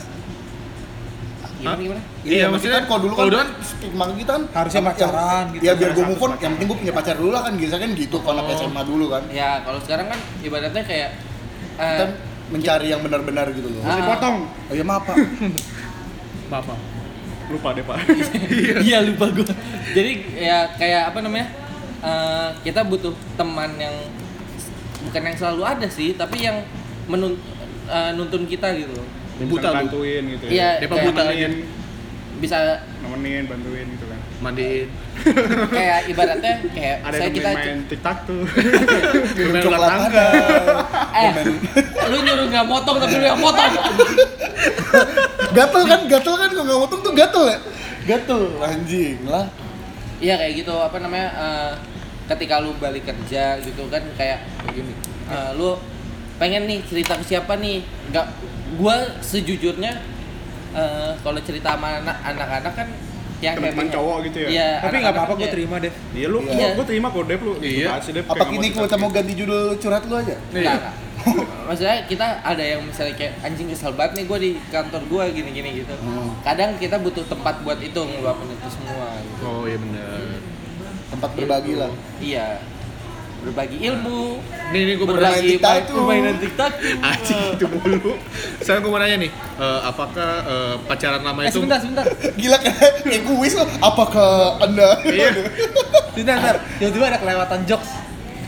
[SPEAKER 5] gimana,
[SPEAKER 2] Hah?
[SPEAKER 5] gimana?
[SPEAKER 2] Iya, maksudnya
[SPEAKER 4] kalau dulu kan,
[SPEAKER 2] kalau dulu kan
[SPEAKER 4] stigma kita kan
[SPEAKER 1] harusnya
[SPEAKER 4] yang-
[SPEAKER 1] pacaran
[SPEAKER 4] yang-
[SPEAKER 1] gitu.
[SPEAKER 4] ya biar gue move on yang penting gue punya pacar dulu lah kan biasanya kan gitu kalau
[SPEAKER 2] Oh.
[SPEAKER 4] anak SMA dulu kan
[SPEAKER 2] Nah.
[SPEAKER 5] ya kalau sekarang kan ibaratnya kayak eh,
[SPEAKER 4] kita mencari yang benar-benar gitu loh
[SPEAKER 2] Nah.
[SPEAKER 5] Ah.
[SPEAKER 3] dipotong
[SPEAKER 4] oh iya maaf pak
[SPEAKER 2] Maaf, maaf.
[SPEAKER 3] lupa deh pak
[SPEAKER 5] Iya lupa gue. Jadi ya kayak apa namanya? eh, kita butuh teman yang bukan yang selalu ada sih, tapi yang menuntun nuntun kita gitu. loh.
[SPEAKER 2] Buta lu.
[SPEAKER 3] bantuin gitu
[SPEAKER 5] Iya,
[SPEAKER 2] Depa
[SPEAKER 5] kayak
[SPEAKER 2] buta aja.
[SPEAKER 3] nemenin
[SPEAKER 5] Bisa
[SPEAKER 3] nemenin bantuin gitu kan
[SPEAKER 2] Mandiin.
[SPEAKER 5] kayak ibaratnya kayak
[SPEAKER 3] ada
[SPEAKER 5] saya
[SPEAKER 3] yang
[SPEAKER 5] kita
[SPEAKER 3] nemenin main tiktok tuh
[SPEAKER 2] Bermain
[SPEAKER 4] Coklat
[SPEAKER 2] ular tangga.
[SPEAKER 4] ada.
[SPEAKER 5] eh lu nyuruh nggak motong tapi lu yang motong.
[SPEAKER 4] gatel kan gatel kan kalau nggak motong tuh gatel ya gatel anjing lah
[SPEAKER 5] Iya kayak gitu apa namanya eh, ketika lu balik kerja gitu kan kayak begini eh, lu pengen nih cerita ke siapa nih nggak gua sejujurnya eh, kalau cerita sama anak- anak-anak kan yang
[SPEAKER 3] Teman-teman
[SPEAKER 5] kayak-
[SPEAKER 3] cowok gitu ya?
[SPEAKER 5] Iya,
[SPEAKER 1] Tapi nggak
[SPEAKER 5] anak-anak
[SPEAKER 1] apa-apa gue
[SPEAKER 5] aja.
[SPEAKER 1] terima deh.
[SPEAKER 3] Iya lu,
[SPEAKER 4] Iya.
[SPEAKER 3] gue terima kok Dev lu.
[SPEAKER 2] Iya.
[SPEAKER 3] Gitu, Dev,
[SPEAKER 4] apa
[SPEAKER 3] kayak
[SPEAKER 4] kini
[SPEAKER 3] nggak mau
[SPEAKER 4] kita mau ganti judul curhat lu aja
[SPEAKER 5] Enggak, enggak. Maksudnya kita ada yang misalnya kayak anjing kesel banget nih gue di kantor gue gini-gini gitu. Kadang kita butuh tempat buat itu ngeluapin itu semua. gitu.
[SPEAKER 2] Oh iya benar.
[SPEAKER 4] tempat berbagi lah
[SPEAKER 5] Iya. Berbagi ilmu,
[SPEAKER 2] Nih nih gue
[SPEAKER 4] Berbagi.
[SPEAKER 5] berbagi
[SPEAKER 4] TikTok
[SPEAKER 5] main-
[SPEAKER 4] tuh.
[SPEAKER 5] permainan TikTok.
[SPEAKER 2] Anjing itu mulu. Saya gue mau nanya nih, eh, apakah eh, pacaran lama
[SPEAKER 5] Eh
[SPEAKER 2] itu
[SPEAKER 5] sebentar, sebentar.
[SPEAKER 4] gila kan egois lo apakah anda
[SPEAKER 2] Iya.
[SPEAKER 1] Tidak, ntar. Tiba-tiba ada kelewatan jokes.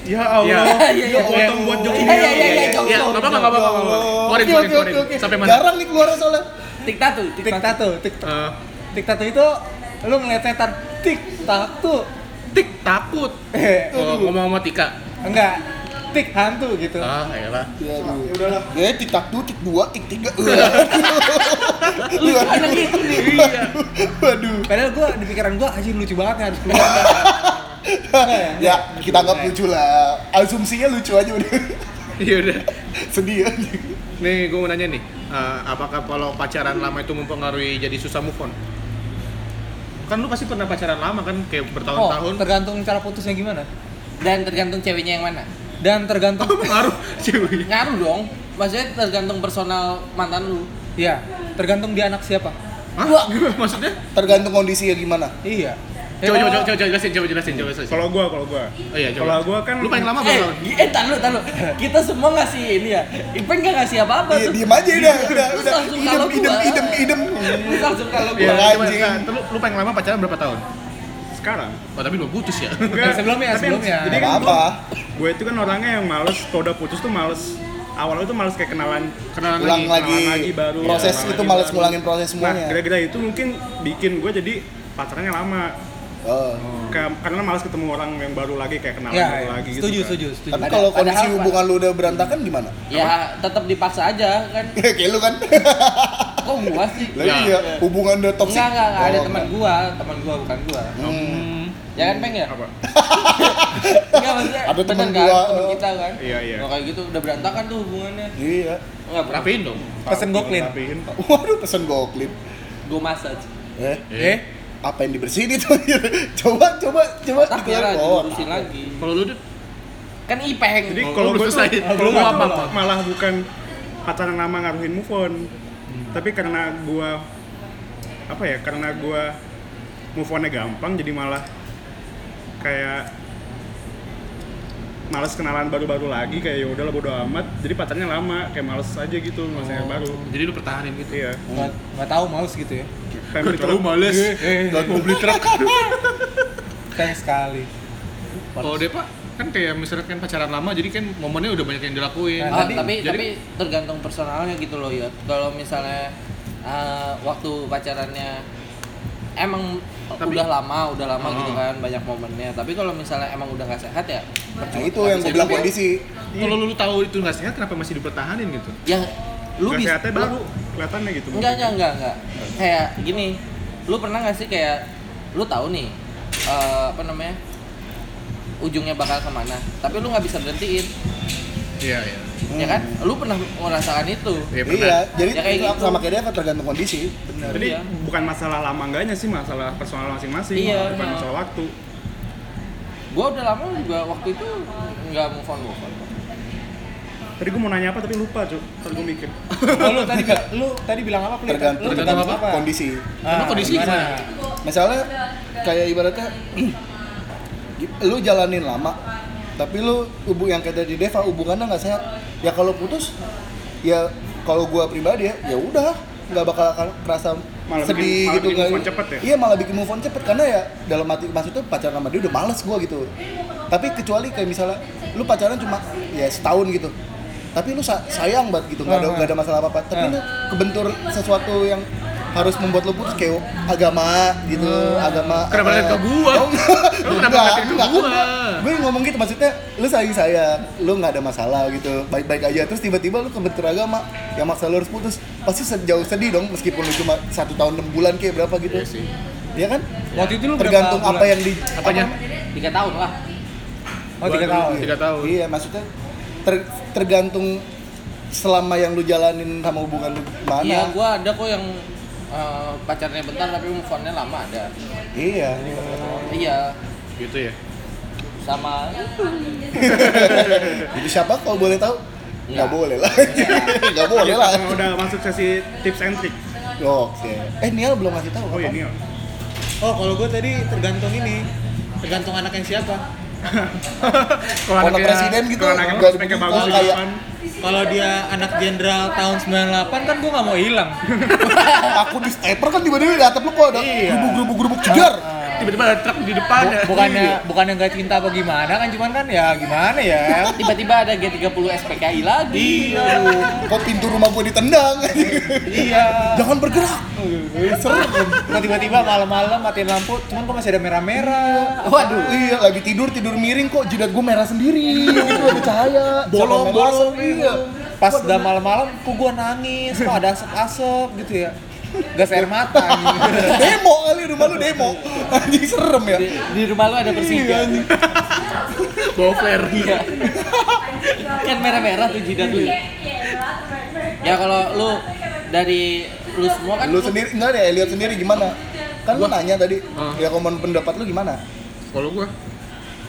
[SPEAKER 3] gitu. Ya Allah.
[SPEAKER 2] Iya.
[SPEAKER 5] Iya, iya,
[SPEAKER 3] Lu potong
[SPEAKER 4] iya.
[SPEAKER 3] buat
[SPEAKER 5] Iya
[SPEAKER 3] joki.
[SPEAKER 5] iya iya iya, jok,
[SPEAKER 2] Iya, enggak
[SPEAKER 5] jok,
[SPEAKER 2] apa-apa
[SPEAKER 5] jok.
[SPEAKER 2] enggak apa-apa. nggak apa-apa. Keluarin, keluarin,
[SPEAKER 4] oke oke
[SPEAKER 2] keluarin.
[SPEAKER 4] oke oke
[SPEAKER 2] Sampai mana?
[SPEAKER 4] jarang nih keluar soalnya
[SPEAKER 5] Tik tatu, tik
[SPEAKER 1] Tik
[SPEAKER 5] tatu.
[SPEAKER 1] tatu, tik
[SPEAKER 2] Eh,
[SPEAKER 1] tik tatu itu lu ngeliat setan tik tatu.
[SPEAKER 2] tik takut.
[SPEAKER 1] Eh,
[SPEAKER 2] Oh, ngomong sama Tika.
[SPEAKER 1] enggak. Tik hantu gitu.
[SPEAKER 2] Ah, elah.
[SPEAKER 4] ya
[SPEAKER 3] Ya udahlah.
[SPEAKER 4] ya tik tak tuh tik dua tik tiga
[SPEAKER 5] Lu anak itu nih.
[SPEAKER 2] Iya.
[SPEAKER 4] waduh
[SPEAKER 1] Padahal gue di pikiran gue anjir lucu banget nih harus keluar.
[SPEAKER 4] ya kita anggap lucu lah asumsinya lucu aja udah
[SPEAKER 2] Iya udah.
[SPEAKER 4] sedih anjing
[SPEAKER 2] Nih, gue mau nanya nih, eh, apakah kalau pacaran lama itu mempengaruhi jadi susah move on? Kan lu pasti pernah pacaran lama kan,
[SPEAKER 1] Oh,
[SPEAKER 2] kayak bertahun-tahun.
[SPEAKER 1] tergantung cara putusnya gimana.
[SPEAKER 5] Dan tergantung ceweknya yang mana.
[SPEAKER 1] Dan tergantung
[SPEAKER 2] Pengaruh cewek.
[SPEAKER 5] Ngaruh dong. Maksudnya tergantung personal mantan lu.
[SPEAKER 1] ya, tergantung dia anak siapa.
[SPEAKER 2] Hah? Gimana maksudnya?
[SPEAKER 4] tergantung kondisinya gimana
[SPEAKER 1] Iya.
[SPEAKER 2] Coba, coba, coba, coba jelasin, coba jelasin, coba jelasin.
[SPEAKER 3] Kalau gua, kalau gua.
[SPEAKER 2] Oh iya, coba.
[SPEAKER 3] Kalau gua kan
[SPEAKER 2] lu paling lama
[SPEAKER 5] Eh,
[SPEAKER 2] berapa tahun?
[SPEAKER 5] gi- eh tar lu, tar lu. Kita semua ngasih ini ya. Ipen gak ngasih apa-apa
[SPEAKER 4] Iya,
[SPEAKER 5] tuh.
[SPEAKER 4] diem aja udah, udah,
[SPEAKER 5] Terus
[SPEAKER 4] udah.
[SPEAKER 5] langsung
[SPEAKER 4] Idem,
[SPEAKER 5] kalau
[SPEAKER 4] idem,
[SPEAKER 5] gua.
[SPEAKER 4] idem, idem.
[SPEAKER 5] Terus langsung kalau
[SPEAKER 2] Iya,
[SPEAKER 5] gua.
[SPEAKER 4] Kurang
[SPEAKER 2] coba,
[SPEAKER 4] anjing.
[SPEAKER 2] nah, lu, lu paling lama pacaran berapa tahun?
[SPEAKER 3] sekarang.
[SPEAKER 2] Oh, tapi belum putus ya.
[SPEAKER 1] Yang sebelumnya,
[SPEAKER 3] tapi-
[SPEAKER 1] sebelumnya.
[SPEAKER 3] Jadi
[SPEAKER 4] Gak
[SPEAKER 3] kan
[SPEAKER 4] apa-apa.
[SPEAKER 3] gue itu kan orangnya yang males, kalau udah putus tuh males. Awalnya tuh males kayak kenalan
[SPEAKER 2] Kenalan
[SPEAKER 4] Ulang
[SPEAKER 2] lagi.
[SPEAKER 4] lagi.
[SPEAKER 3] kenalan lagi baru,
[SPEAKER 4] Proses
[SPEAKER 3] kenalan
[SPEAKER 4] itu
[SPEAKER 3] lagi
[SPEAKER 4] males
[SPEAKER 3] baru.
[SPEAKER 4] ngulangin proses
[SPEAKER 3] Nah,
[SPEAKER 4] semuanya. Eh,
[SPEAKER 3] gara-gara itu mungkin bikin gue jadi pacarannya lama.
[SPEAKER 4] Oh.
[SPEAKER 3] Ke- Karena males ketemu orang yang baru lagi kayak kenalan
[SPEAKER 1] Iya,
[SPEAKER 3] baru
[SPEAKER 1] iya.
[SPEAKER 3] lagi gitu.
[SPEAKER 1] setuju,
[SPEAKER 3] kan.
[SPEAKER 1] setuju, setuju.
[SPEAKER 4] Tapi
[SPEAKER 5] Pada-
[SPEAKER 4] kalau kondisi
[SPEAKER 5] padahal-
[SPEAKER 4] hubungan lu udah berantakan gimana?
[SPEAKER 5] Ya, tetap dipaksa aja kan.
[SPEAKER 4] Kayak lu kan.
[SPEAKER 3] Iya.
[SPEAKER 5] Kok gua sih?
[SPEAKER 4] Lah
[SPEAKER 2] Nah.
[SPEAKER 4] iya, hubungan udah toksik.
[SPEAKER 5] Enggak, enggak, enggak ada
[SPEAKER 4] Oh,
[SPEAKER 5] teman
[SPEAKER 4] enggak.
[SPEAKER 5] gua, teman gua bukan gua.
[SPEAKER 4] Hmm.
[SPEAKER 5] Ya kan peng ya?
[SPEAKER 3] Apa?
[SPEAKER 5] Enggak maksudnya.
[SPEAKER 4] Ada teman
[SPEAKER 5] bener kan?
[SPEAKER 4] gua,
[SPEAKER 5] Teman
[SPEAKER 4] eh.
[SPEAKER 5] kita kan.
[SPEAKER 3] Iya, iya.
[SPEAKER 5] Kalau kayak gitu udah berantakan tuh hubungannya.
[SPEAKER 4] Iya.
[SPEAKER 5] Enggak berapa?
[SPEAKER 2] Rapiin dong.
[SPEAKER 1] Pesen gue clean.
[SPEAKER 3] Rapihin.
[SPEAKER 4] Waduh, pesen goklip.
[SPEAKER 5] Gua massage.
[SPEAKER 4] Eh,
[SPEAKER 1] Eh,
[SPEAKER 4] apa yang dibersihin itu? coba, coba, coba.
[SPEAKER 5] Tapi
[SPEAKER 4] dikeluarin.
[SPEAKER 5] ya
[SPEAKER 4] Oh,
[SPEAKER 5] diurusin lagi.
[SPEAKER 2] Kalau lu Dut?
[SPEAKER 5] Kan ipeng.
[SPEAKER 3] Jadi
[SPEAKER 2] Oh,
[SPEAKER 3] kalau
[SPEAKER 2] lu
[SPEAKER 3] gue
[SPEAKER 2] selesai.
[SPEAKER 3] tuh,
[SPEAKER 2] Oh,
[SPEAKER 3] kalau
[SPEAKER 2] belum
[SPEAKER 3] gue
[SPEAKER 2] apa-apa.
[SPEAKER 3] tuh malah bukan pacaran lama ngaruhin move on. Tapi karena gue apa ya? Karena gue move onnya gampang, jadi malah kayak males kenalan baru-baru lagi kayak ya udahlah bodo amat. Jadi pacarnya lama, kayak males aja gitu, males yang baru.
[SPEAKER 2] Jadi lu pertahanin gitu.
[SPEAKER 3] Iya.
[SPEAKER 1] nggak nggak tahu males gitu ya.
[SPEAKER 3] Kayak
[SPEAKER 2] Gua tahu males. Mau beli truk.
[SPEAKER 1] Sayang sekali.
[SPEAKER 2] Kalau Depa kan kayak misalnya kan pacaran lama jadi kan momennya udah banyak yang dilakuin.
[SPEAKER 1] Nah,
[SPEAKER 5] Ah,
[SPEAKER 1] tadi-
[SPEAKER 5] tapi
[SPEAKER 2] jadi-
[SPEAKER 5] tapi tergantung personalnya gitu loh ya. Kalau misalnya eh, waktu pacarannya emang
[SPEAKER 2] Tapi-
[SPEAKER 5] udah lama, udah lama
[SPEAKER 2] Oh.
[SPEAKER 5] gitu kan banyak momennya. Tapi kalau misalnya emang udah nggak sehat ya,
[SPEAKER 4] Nah, itu yang gue
[SPEAKER 3] Iya,
[SPEAKER 4] bilang kondisi.
[SPEAKER 2] Kalau lu, lu tahu itu nggak sehat kenapa masih dipertahanin gitu?
[SPEAKER 5] ya
[SPEAKER 3] Lu
[SPEAKER 5] lu bisa
[SPEAKER 3] sehatnya
[SPEAKER 5] lu-
[SPEAKER 3] baru kelihatannya gitu.
[SPEAKER 5] Enggak, enggak, enggak, enggak. Kayak gini, lu pernah nggak sih kayak lu tahu nih eh, apa namanya ujungnya bakal kemana, tapi lu nggak bisa berhentiin,
[SPEAKER 2] Iya iya.
[SPEAKER 5] ya kan? Lu pernah merasakan itu?
[SPEAKER 2] Iya pernah.
[SPEAKER 4] Iya, jadi
[SPEAKER 5] Ya, kayak
[SPEAKER 4] itu
[SPEAKER 5] gitu.
[SPEAKER 4] sama kayak dia tergantung kondisi.
[SPEAKER 3] Jadi
[SPEAKER 5] Iya.
[SPEAKER 3] bukan masalah lama enggaknya sih, masalah personal masing-masing,
[SPEAKER 5] Iya,
[SPEAKER 3] bukan
[SPEAKER 5] iya.
[SPEAKER 3] masalah waktu.
[SPEAKER 5] Gua udah lama juga waktu itu nggak move on move on.
[SPEAKER 3] Tadi gue mau nanya apa tapi lupa, Cuk. Tadi gue mikir.
[SPEAKER 1] Oh, lu tadi bilang, lu tadi bilang apa? Pli? Lu
[SPEAKER 4] Tergantung,
[SPEAKER 2] tergantung apa?
[SPEAKER 4] kondisi.
[SPEAKER 1] Ah,
[SPEAKER 2] Lu kondisi
[SPEAKER 1] gimana?
[SPEAKER 2] gimana?
[SPEAKER 4] misalnya kayak ibaratnya lu jalanin lama tapi lu hubung yang kayak tadi Deva hubungannya nggak sehat ya kalau putus ya kalau gua pribadi ya ya udah nggak bakal akan kerasa
[SPEAKER 3] Malah bikin-
[SPEAKER 4] sedih
[SPEAKER 3] malah
[SPEAKER 4] gitu
[SPEAKER 3] bikin
[SPEAKER 4] kan
[SPEAKER 3] move on cepet ya?
[SPEAKER 4] iya malah bikin move on cepet karena ya dalam hati maksudnya pacaran sama dia udah males gua gitu tapi kecuali kayak misalnya lu pacaran cuma ya setahun gitu tapi lu sa- sayang banget gitu nggak ada
[SPEAKER 1] Ah, ah.
[SPEAKER 4] nggak ada masalah apa apa tapi
[SPEAKER 1] Ah.
[SPEAKER 4] lu kebentur sesuatu yang harus membuat lu putus kayak agama gitu agama
[SPEAKER 2] Kenapa
[SPEAKER 4] eh,
[SPEAKER 2] lihat ke gua?
[SPEAKER 4] oh, enggak.
[SPEAKER 2] Lu kenapa
[SPEAKER 4] Enggak,
[SPEAKER 2] ngeliatin ke
[SPEAKER 4] enggak,
[SPEAKER 2] gua?
[SPEAKER 4] enggak. gue ngomong gitu maksudnya lu sayang sayang lu nggak ada masalah gitu baik baik aja terus tiba tiba lu kebentur agama yang maksa lu harus putus pasti sejauh sedih dong meskipun lu cuma satu tahun enam bulan kayak berapa gitu
[SPEAKER 2] Iya sih.
[SPEAKER 4] Iya kan
[SPEAKER 1] Waktu itu lu berapa
[SPEAKER 4] tergantung
[SPEAKER 1] bulan?
[SPEAKER 4] apa yang di
[SPEAKER 2] Apanya?
[SPEAKER 5] tiga tahun lah
[SPEAKER 1] Oh, tiga tahun.
[SPEAKER 2] Tiga tahun.
[SPEAKER 4] Iya, maksudnya ter- tergantung selama yang lu jalanin sama hubungan lu mana.
[SPEAKER 5] iya gua ada kok yang eh, pacarnya bentar tapi move on-nya lama ada
[SPEAKER 4] Iya.
[SPEAKER 5] iya
[SPEAKER 2] Gitu ya.
[SPEAKER 5] sama
[SPEAKER 4] Jadi siapa kalau boleh tahu?
[SPEAKER 5] Iya.
[SPEAKER 4] Nggak boleh lah. Nggak boleh
[SPEAKER 1] Iya.
[SPEAKER 4] lah.
[SPEAKER 3] Kalau Iya, udah masuk sesi tips and trick.
[SPEAKER 4] Oke. Eh, Nial belum ngasih tahu.
[SPEAKER 3] Oh
[SPEAKER 2] iya,
[SPEAKER 4] apa?
[SPEAKER 3] ya Niel.
[SPEAKER 1] Oh, kalau gue tadi tergantung ini, tergantung anak yang siapa.
[SPEAKER 2] Kalau
[SPEAKER 4] Anak presiden gitu.
[SPEAKER 2] Kalau anaknya
[SPEAKER 4] Nggak
[SPEAKER 2] prospeknya
[SPEAKER 4] dibuka,
[SPEAKER 2] bagus di
[SPEAKER 3] gitu
[SPEAKER 4] kayak-
[SPEAKER 3] kan.
[SPEAKER 2] depan.
[SPEAKER 1] Kalau dia anak jenderal tahun 98 kan gue nggak mau hilang.
[SPEAKER 4] Takut di sniper kan tiba-tiba di atap lu kok ada
[SPEAKER 1] Iya.
[SPEAKER 4] gerubuk-gerubuk-gerubuk cegar.
[SPEAKER 2] Tiba-tiba ada truk di depan ya.
[SPEAKER 1] Bukannya bukannya nggak cinta apa gimana kan cuman kan ya gimana ya.
[SPEAKER 5] tiba-tiba ada G30 SPKI lagi
[SPEAKER 4] Kok pintu rumah gua ditendang.
[SPEAKER 1] iya.
[SPEAKER 4] Jangan bergerak.
[SPEAKER 1] Serem. Nah, tiba-tiba malam-malam matiin lampu, cuman kok masih ada merah-merah.
[SPEAKER 4] Waduh, iya lagi tidur tidur miring kok jidat gua merah sendiri. Itu ada cahaya.
[SPEAKER 1] Bolong,
[SPEAKER 4] Bolong
[SPEAKER 1] bolong.
[SPEAKER 4] Iya.
[SPEAKER 1] Pas udah malam-malam, kok gue nangis, kok ada asap-asap gitu ya. Gas air mata. anjing.
[SPEAKER 4] demo kali rumah lu demo. Anjing serem ya.
[SPEAKER 5] di, di rumah lu
[SPEAKER 1] Iya,
[SPEAKER 5] ada Persija
[SPEAKER 2] Iya. Bawa flare.
[SPEAKER 5] kan merah-merah tuh jidat lu ya kalau lu dari lu semua kan
[SPEAKER 4] Lu sendiri enggak deh, Elliot sendiri gimana? Kan lu nanya tadi,
[SPEAKER 2] Ah.
[SPEAKER 4] ya komen pendapat lu gimana?
[SPEAKER 2] Kalau gua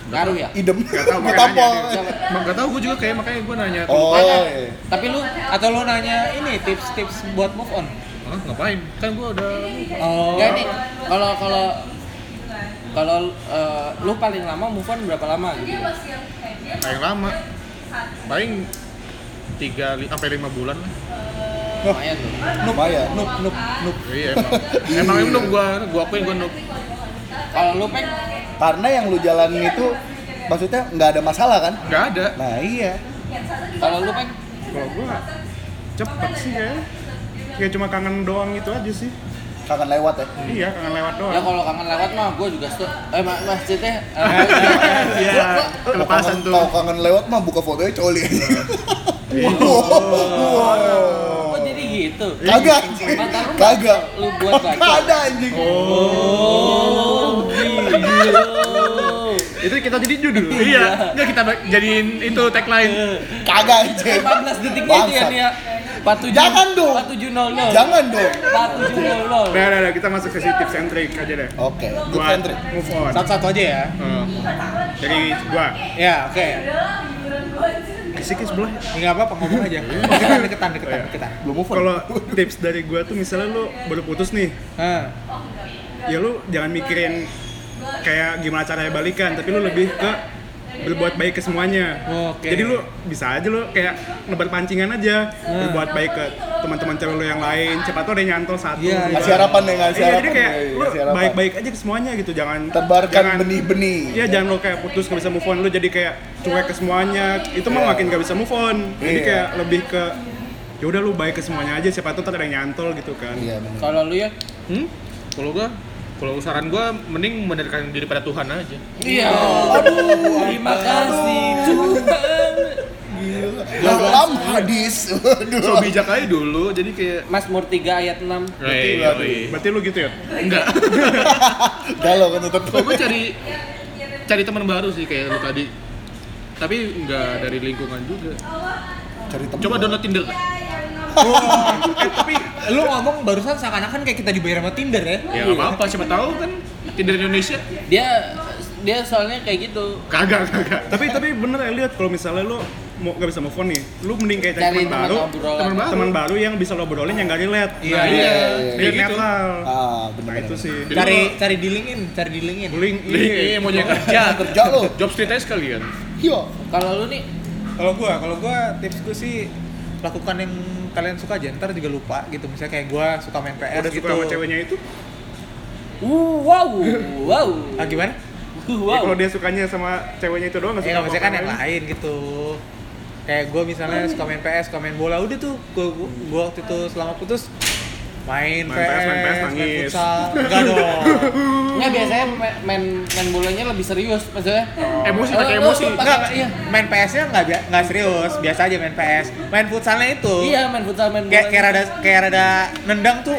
[SPEAKER 5] ngaruh ya
[SPEAKER 4] Idem.
[SPEAKER 3] Nggak tahu,
[SPEAKER 4] Gua
[SPEAKER 3] makanya
[SPEAKER 4] tampol.
[SPEAKER 2] Mak gak tau gue juga kayak makanya gue nanya ke
[SPEAKER 4] Oh,
[SPEAKER 2] Lupan.
[SPEAKER 4] iya.
[SPEAKER 5] tapi lu
[SPEAKER 1] Atau lo nanya ini tips-tips buat move on.
[SPEAKER 2] Hah, ngapain? Kan gue udah
[SPEAKER 1] Oh.
[SPEAKER 5] Enggak nih, kalau kalau kalau eh, lu paling lama move on berapa lama gitu?
[SPEAKER 2] paling lama Paling 3 sampai 5 bulan lah
[SPEAKER 5] Lumayan tuh.
[SPEAKER 4] lumayan.
[SPEAKER 1] Nup, nup, nup.
[SPEAKER 2] Iya emang Emang itu noob gue, gue akuin gue noob
[SPEAKER 5] Kalau lu pek
[SPEAKER 4] Karena yang lu jalanin itu maksudnya nggak ada masalah kan?
[SPEAKER 2] Gak ada
[SPEAKER 4] Nah, iya.
[SPEAKER 5] kalau lu pek
[SPEAKER 3] Kalau gua cepet sih ya. Ya cuma kangen doang gitu aja sih.
[SPEAKER 4] Kangen lewat ya.
[SPEAKER 3] Iya, kangen lewat doang.
[SPEAKER 5] ya kalau kangen lewat mah gue juga stu eh ma masjidnya eh,
[SPEAKER 2] Iya,
[SPEAKER 4] Kalau
[SPEAKER 2] kelepasan
[SPEAKER 4] kangen-
[SPEAKER 2] tuh
[SPEAKER 4] Kalau kangen lewat mah buka fotonya coli.
[SPEAKER 3] Iya.
[SPEAKER 4] Wow.
[SPEAKER 5] oh jadi gitu.
[SPEAKER 4] Kagak. anjing.
[SPEAKER 5] Mantan lu
[SPEAKER 4] Kagak.
[SPEAKER 5] lu buat baca.
[SPEAKER 4] Ada anjing.
[SPEAKER 5] Oh, gitu.
[SPEAKER 2] Itu kita jadi judul Iya, nggak kita bak- jadiin itu tagline
[SPEAKER 4] Kagak anjing.
[SPEAKER 5] 15 detiknya itu ya
[SPEAKER 4] Bangsat.
[SPEAKER 5] nih ya. 47
[SPEAKER 4] Jangan dong.
[SPEAKER 5] 4700.
[SPEAKER 4] Jangan dong.
[SPEAKER 5] 4700.
[SPEAKER 3] Udah, udah, udah, kita masuk sesi tips and trick aja deh.
[SPEAKER 4] Oke, Oh, good
[SPEAKER 3] Buat
[SPEAKER 4] entry.
[SPEAKER 3] move on. Oh.
[SPEAKER 1] Satu-satu aja ya.
[SPEAKER 2] Eh,
[SPEAKER 3] Jadi gua
[SPEAKER 1] Ya, oke.
[SPEAKER 3] Sikis sebelah.
[SPEAKER 1] Enggak apa-apa ngomong aja. Deketan, deketan, deketan,
[SPEAKER 3] Oh, iya.
[SPEAKER 1] deketan.
[SPEAKER 4] Belum move on.
[SPEAKER 3] Kalau tips dari gua tuh misalnya lu baru putus nih,
[SPEAKER 1] Hah.
[SPEAKER 3] ya lu jangan mikirin kayak gimana caranya balikan, tapi lu lebih ke berbuat baik ke semuanya.
[SPEAKER 1] Oke.
[SPEAKER 3] Jadi lu bisa aja lu kayak nebar pancingan aja,
[SPEAKER 4] Nah.
[SPEAKER 3] berbuat baik ke teman-teman cewek lu yang lain. Siapa tuh ada yang nyantol satu.
[SPEAKER 1] Iya,
[SPEAKER 3] dua.
[SPEAKER 4] Ngasih harapan ya, ngasih
[SPEAKER 3] Iya, jadi
[SPEAKER 4] harapan.
[SPEAKER 3] kayak
[SPEAKER 4] Iya, iya,
[SPEAKER 3] lu
[SPEAKER 4] ngasih harapan.
[SPEAKER 3] baik-baik aja ke semuanya gitu, jangan
[SPEAKER 4] Tebarkan
[SPEAKER 3] jangan-
[SPEAKER 4] benih-benih.
[SPEAKER 3] Iya jangan lo kayak putus gak bisa move on lo jadi kayak cuek ke semuanya itu mah
[SPEAKER 4] Iya.
[SPEAKER 3] makin gak bisa move on jadi
[SPEAKER 4] Iya.
[SPEAKER 3] kayak lebih ke ya udah lu baik ke semuanya aja siapa tuh ntar ada yang nyantol gitu kan
[SPEAKER 4] Iya, bener.
[SPEAKER 5] Kalau lu ya?
[SPEAKER 2] hmm? Kalau gue kalau saran gue mending mendekatkan diri pada Tuhan aja.
[SPEAKER 5] Iya. Aduh, terima kasih Tuhan.
[SPEAKER 4] Dalam hadis.
[SPEAKER 2] So
[SPEAKER 4] Waduh.
[SPEAKER 2] bijak aja dulu, jadi kayak
[SPEAKER 5] Mazmur 3 ayat 6.
[SPEAKER 2] Berarti,
[SPEAKER 3] berarti lu gitu ya
[SPEAKER 2] enggak.
[SPEAKER 4] Galau kan tetep.
[SPEAKER 2] Kalau gue cari cari teman baru sih kayak lu tadi. Tapi enggak dari lingkungan juga.
[SPEAKER 4] Cari teman.
[SPEAKER 2] Coba download Tinder.
[SPEAKER 1] Eh, tapi lu ngomong barusan seakan-akan kayak kita dibayar sama Tinder ya.
[SPEAKER 2] Ya nggak apa-apa, siapa tahu kan Tinder Indonesia.
[SPEAKER 5] Dia dia soalnya kayak gitu.
[SPEAKER 2] Kagak, kagak.
[SPEAKER 3] tapi tapi bener ya lihat kalau misalnya lu mau gak bisa move on nih lu mending kayak
[SPEAKER 5] Cari
[SPEAKER 3] cari teman
[SPEAKER 5] teman
[SPEAKER 3] baru
[SPEAKER 5] obrolan.
[SPEAKER 2] Teman baru.
[SPEAKER 3] teman baru yang bisa lo obrolin yang gak relate Nah,
[SPEAKER 1] Iya,
[SPEAKER 2] iya.
[SPEAKER 3] Biar
[SPEAKER 2] Iya, gitu.
[SPEAKER 3] netral
[SPEAKER 4] Ah,
[SPEAKER 3] nah
[SPEAKER 4] bener.
[SPEAKER 3] itu sih
[SPEAKER 2] Jadi
[SPEAKER 1] Cari cari di LinkedIn, cari di LinkedIn.
[SPEAKER 3] link
[SPEAKER 2] Iya, mau nyari kerja.
[SPEAKER 4] Ya, kerja lo.
[SPEAKER 2] Oh, Job street aja sekalian.
[SPEAKER 4] Iya.
[SPEAKER 5] Kalau lu nih
[SPEAKER 1] Kalau gua, kalau gua tips gua sih lakukan yang kalian suka aja, ntar juga lupa gitu. Misalnya kayak gua suka main PS
[SPEAKER 3] udah
[SPEAKER 1] gitu.
[SPEAKER 3] suka sama ceweknya itu
[SPEAKER 5] uh, wow, wow.
[SPEAKER 1] Ah, gimana?
[SPEAKER 5] Uh,
[SPEAKER 3] ya
[SPEAKER 5] wow.
[SPEAKER 3] kalau dia sukanya sama ceweknya itu doang gak
[SPEAKER 1] Eh,
[SPEAKER 3] suka
[SPEAKER 1] nggak
[SPEAKER 3] sama
[SPEAKER 1] maksudnya kan
[SPEAKER 3] orang
[SPEAKER 1] yang lain gitu. Kayak gue misalnya suka main PS, suka main bola, udah tuh gue waktu itu selama putus main,
[SPEAKER 3] Main PS, main PS, nangis.
[SPEAKER 1] futsal. Enggak dong.
[SPEAKER 5] Nggak, Ya, biasanya me- main main bolanya lebih serius maksudnya.
[SPEAKER 2] Emosi,
[SPEAKER 5] Lu-
[SPEAKER 2] pakai
[SPEAKER 5] lu-
[SPEAKER 2] emosi.
[SPEAKER 5] lu pakai-
[SPEAKER 1] Enggak,
[SPEAKER 5] iya.
[SPEAKER 1] main PS-nya enggak bi- enggak serius, biasa aja main PS. Main futsalnya itu.
[SPEAKER 5] Iya, main futsal main bola.
[SPEAKER 1] Kayak kayak rada kayak rada nendang tuh.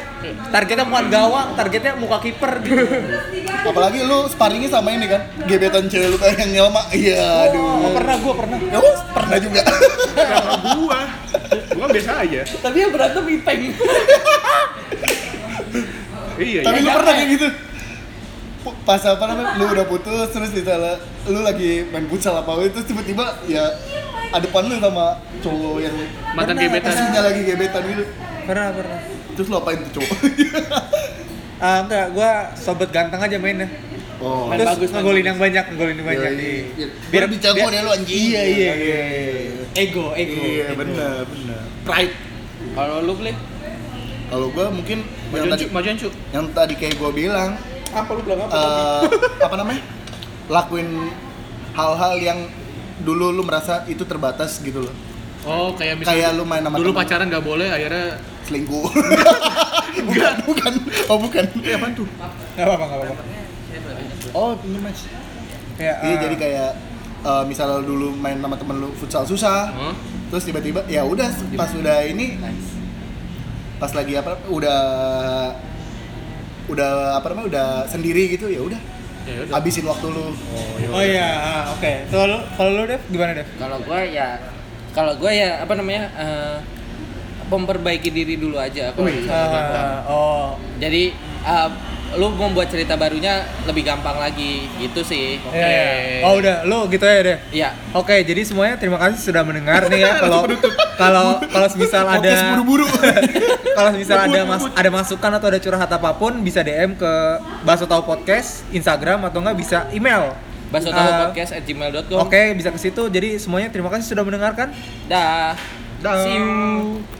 [SPEAKER 1] Targetnya bukan gawang, targetnya muka kiper gitu.
[SPEAKER 4] Apalagi lu sparringnya sama ini kan, gebetan cewek lu kayak yang nyelma. Iya, aduh.
[SPEAKER 1] Oh, pernah gua pernah.
[SPEAKER 4] Ya, oh, pernah juga.
[SPEAKER 2] Kalau gua, gua biasa aja.
[SPEAKER 5] Tapi yang berantem ipeng.
[SPEAKER 2] Iya,
[SPEAKER 4] Tapi
[SPEAKER 2] iya.
[SPEAKER 4] lu pernah kayak gitu. Pu- Pas apa namanya? Lu udah putus terus misalnya lu lagi main futsal apa itu tiba-tiba ya adepan lu sama cowok yang
[SPEAKER 2] Mantan
[SPEAKER 4] Pernah,
[SPEAKER 2] gebetan.
[SPEAKER 4] Isinya lagi Nah, gebetan gitu.
[SPEAKER 1] Pernah, pernah.
[SPEAKER 4] Terus lu apain tuh cowok?
[SPEAKER 1] Ah, enggak, gua sobat ganteng aja mainnya.
[SPEAKER 4] oh.
[SPEAKER 5] Main
[SPEAKER 1] Terus
[SPEAKER 5] bagus, main
[SPEAKER 1] ngegolin
[SPEAKER 5] bagus.
[SPEAKER 1] yang banyak, ngegolin yang banyak.
[SPEAKER 4] Iya,
[SPEAKER 1] Biar
[SPEAKER 4] biar dicago deh lu anjing.
[SPEAKER 1] Iya, iya, iya. Ego, ego.
[SPEAKER 4] Iya, benar, benar.
[SPEAKER 5] Pride. Kalau lu beli
[SPEAKER 4] Kalau gua mungkin yang
[SPEAKER 2] Majuan
[SPEAKER 4] tadi
[SPEAKER 2] cu, majuan cu.
[SPEAKER 4] yang tadi kayak gua bilang
[SPEAKER 2] Apa lu bilang
[SPEAKER 4] eh, apa namanya? Lakuin hal-hal yang dulu lu merasa itu terbatas gitu loh.
[SPEAKER 2] Oh, kayak
[SPEAKER 4] Kayak
[SPEAKER 2] misalnya
[SPEAKER 4] lu main sama
[SPEAKER 2] dulu
[SPEAKER 4] temen.
[SPEAKER 2] pacaran nggak boleh, akhirnya
[SPEAKER 4] selingkuh bukan bukan oh bukan
[SPEAKER 2] Eh, apaan tuh?
[SPEAKER 1] Enggak apa-apa, enggak apa-apa.
[SPEAKER 4] oh ini mas
[SPEAKER 1] Ya,
[SPEAKER 4] iya
[SPEAKER 1] ah.
[SPEAKER 4] jadi kayak eh, misalnya lu dulu main sama temen lu futsal susah
[SPEAKER 2] Hah?
[SPEAKER 4] terus tiba-tiba ya udah pas udah ini pas lagi apa udah udah apa namanya udah sendiri gitu ya udah
[SPEAKER 2] Ya udah.
[SPEAKER 4] habisin waktu lu
[SPEAKER 1] Oh iya, ah, oke. Kalau lu, kalau lu Dev, gimana Dev?
[SPEAKER 5] kalau gua ya kalau gua ya apa namanya? eh, memperbaiki diri dulu aja kalau bisa.
[SPEAKER 1] Ah, oh,
[SPEAKER 5] Jadi eh, lu membuat cerita barunya lebih gampang lagi gitu sih.
[SPEAKER 1] iya, iya. Oh udah, lu gitu ya Dev.
[SPEAKER 5] Iya.
[SPEAKER 1] Oke, jadi semuanya terima kasih sudah mendengar nih ya. Kalau kalau kalau semisal
[SPEAKER 4] Podcast
[SPEAKER 1] ada
[SPEAKER 4] buru-buru
[SPEAKER 1] kalau misal ada mas, ada masukan atau ada curhat apapun bisa DM ke Baso Tahu Podcast Instagram atau enggak bisa email.
[SPEAKER 5] Baso
[SPEAKER 1] Eh,
[SPEAKER 5] podcast at gmail.com.
[SPEAKER 1] Oke, bisa ke situ. Jadi semuanya terima kasih sudah mendengarkan.
[SPEAKER 5] Dah.
[SPEAKER 1] Dah.
[SPEAKER 5] See you.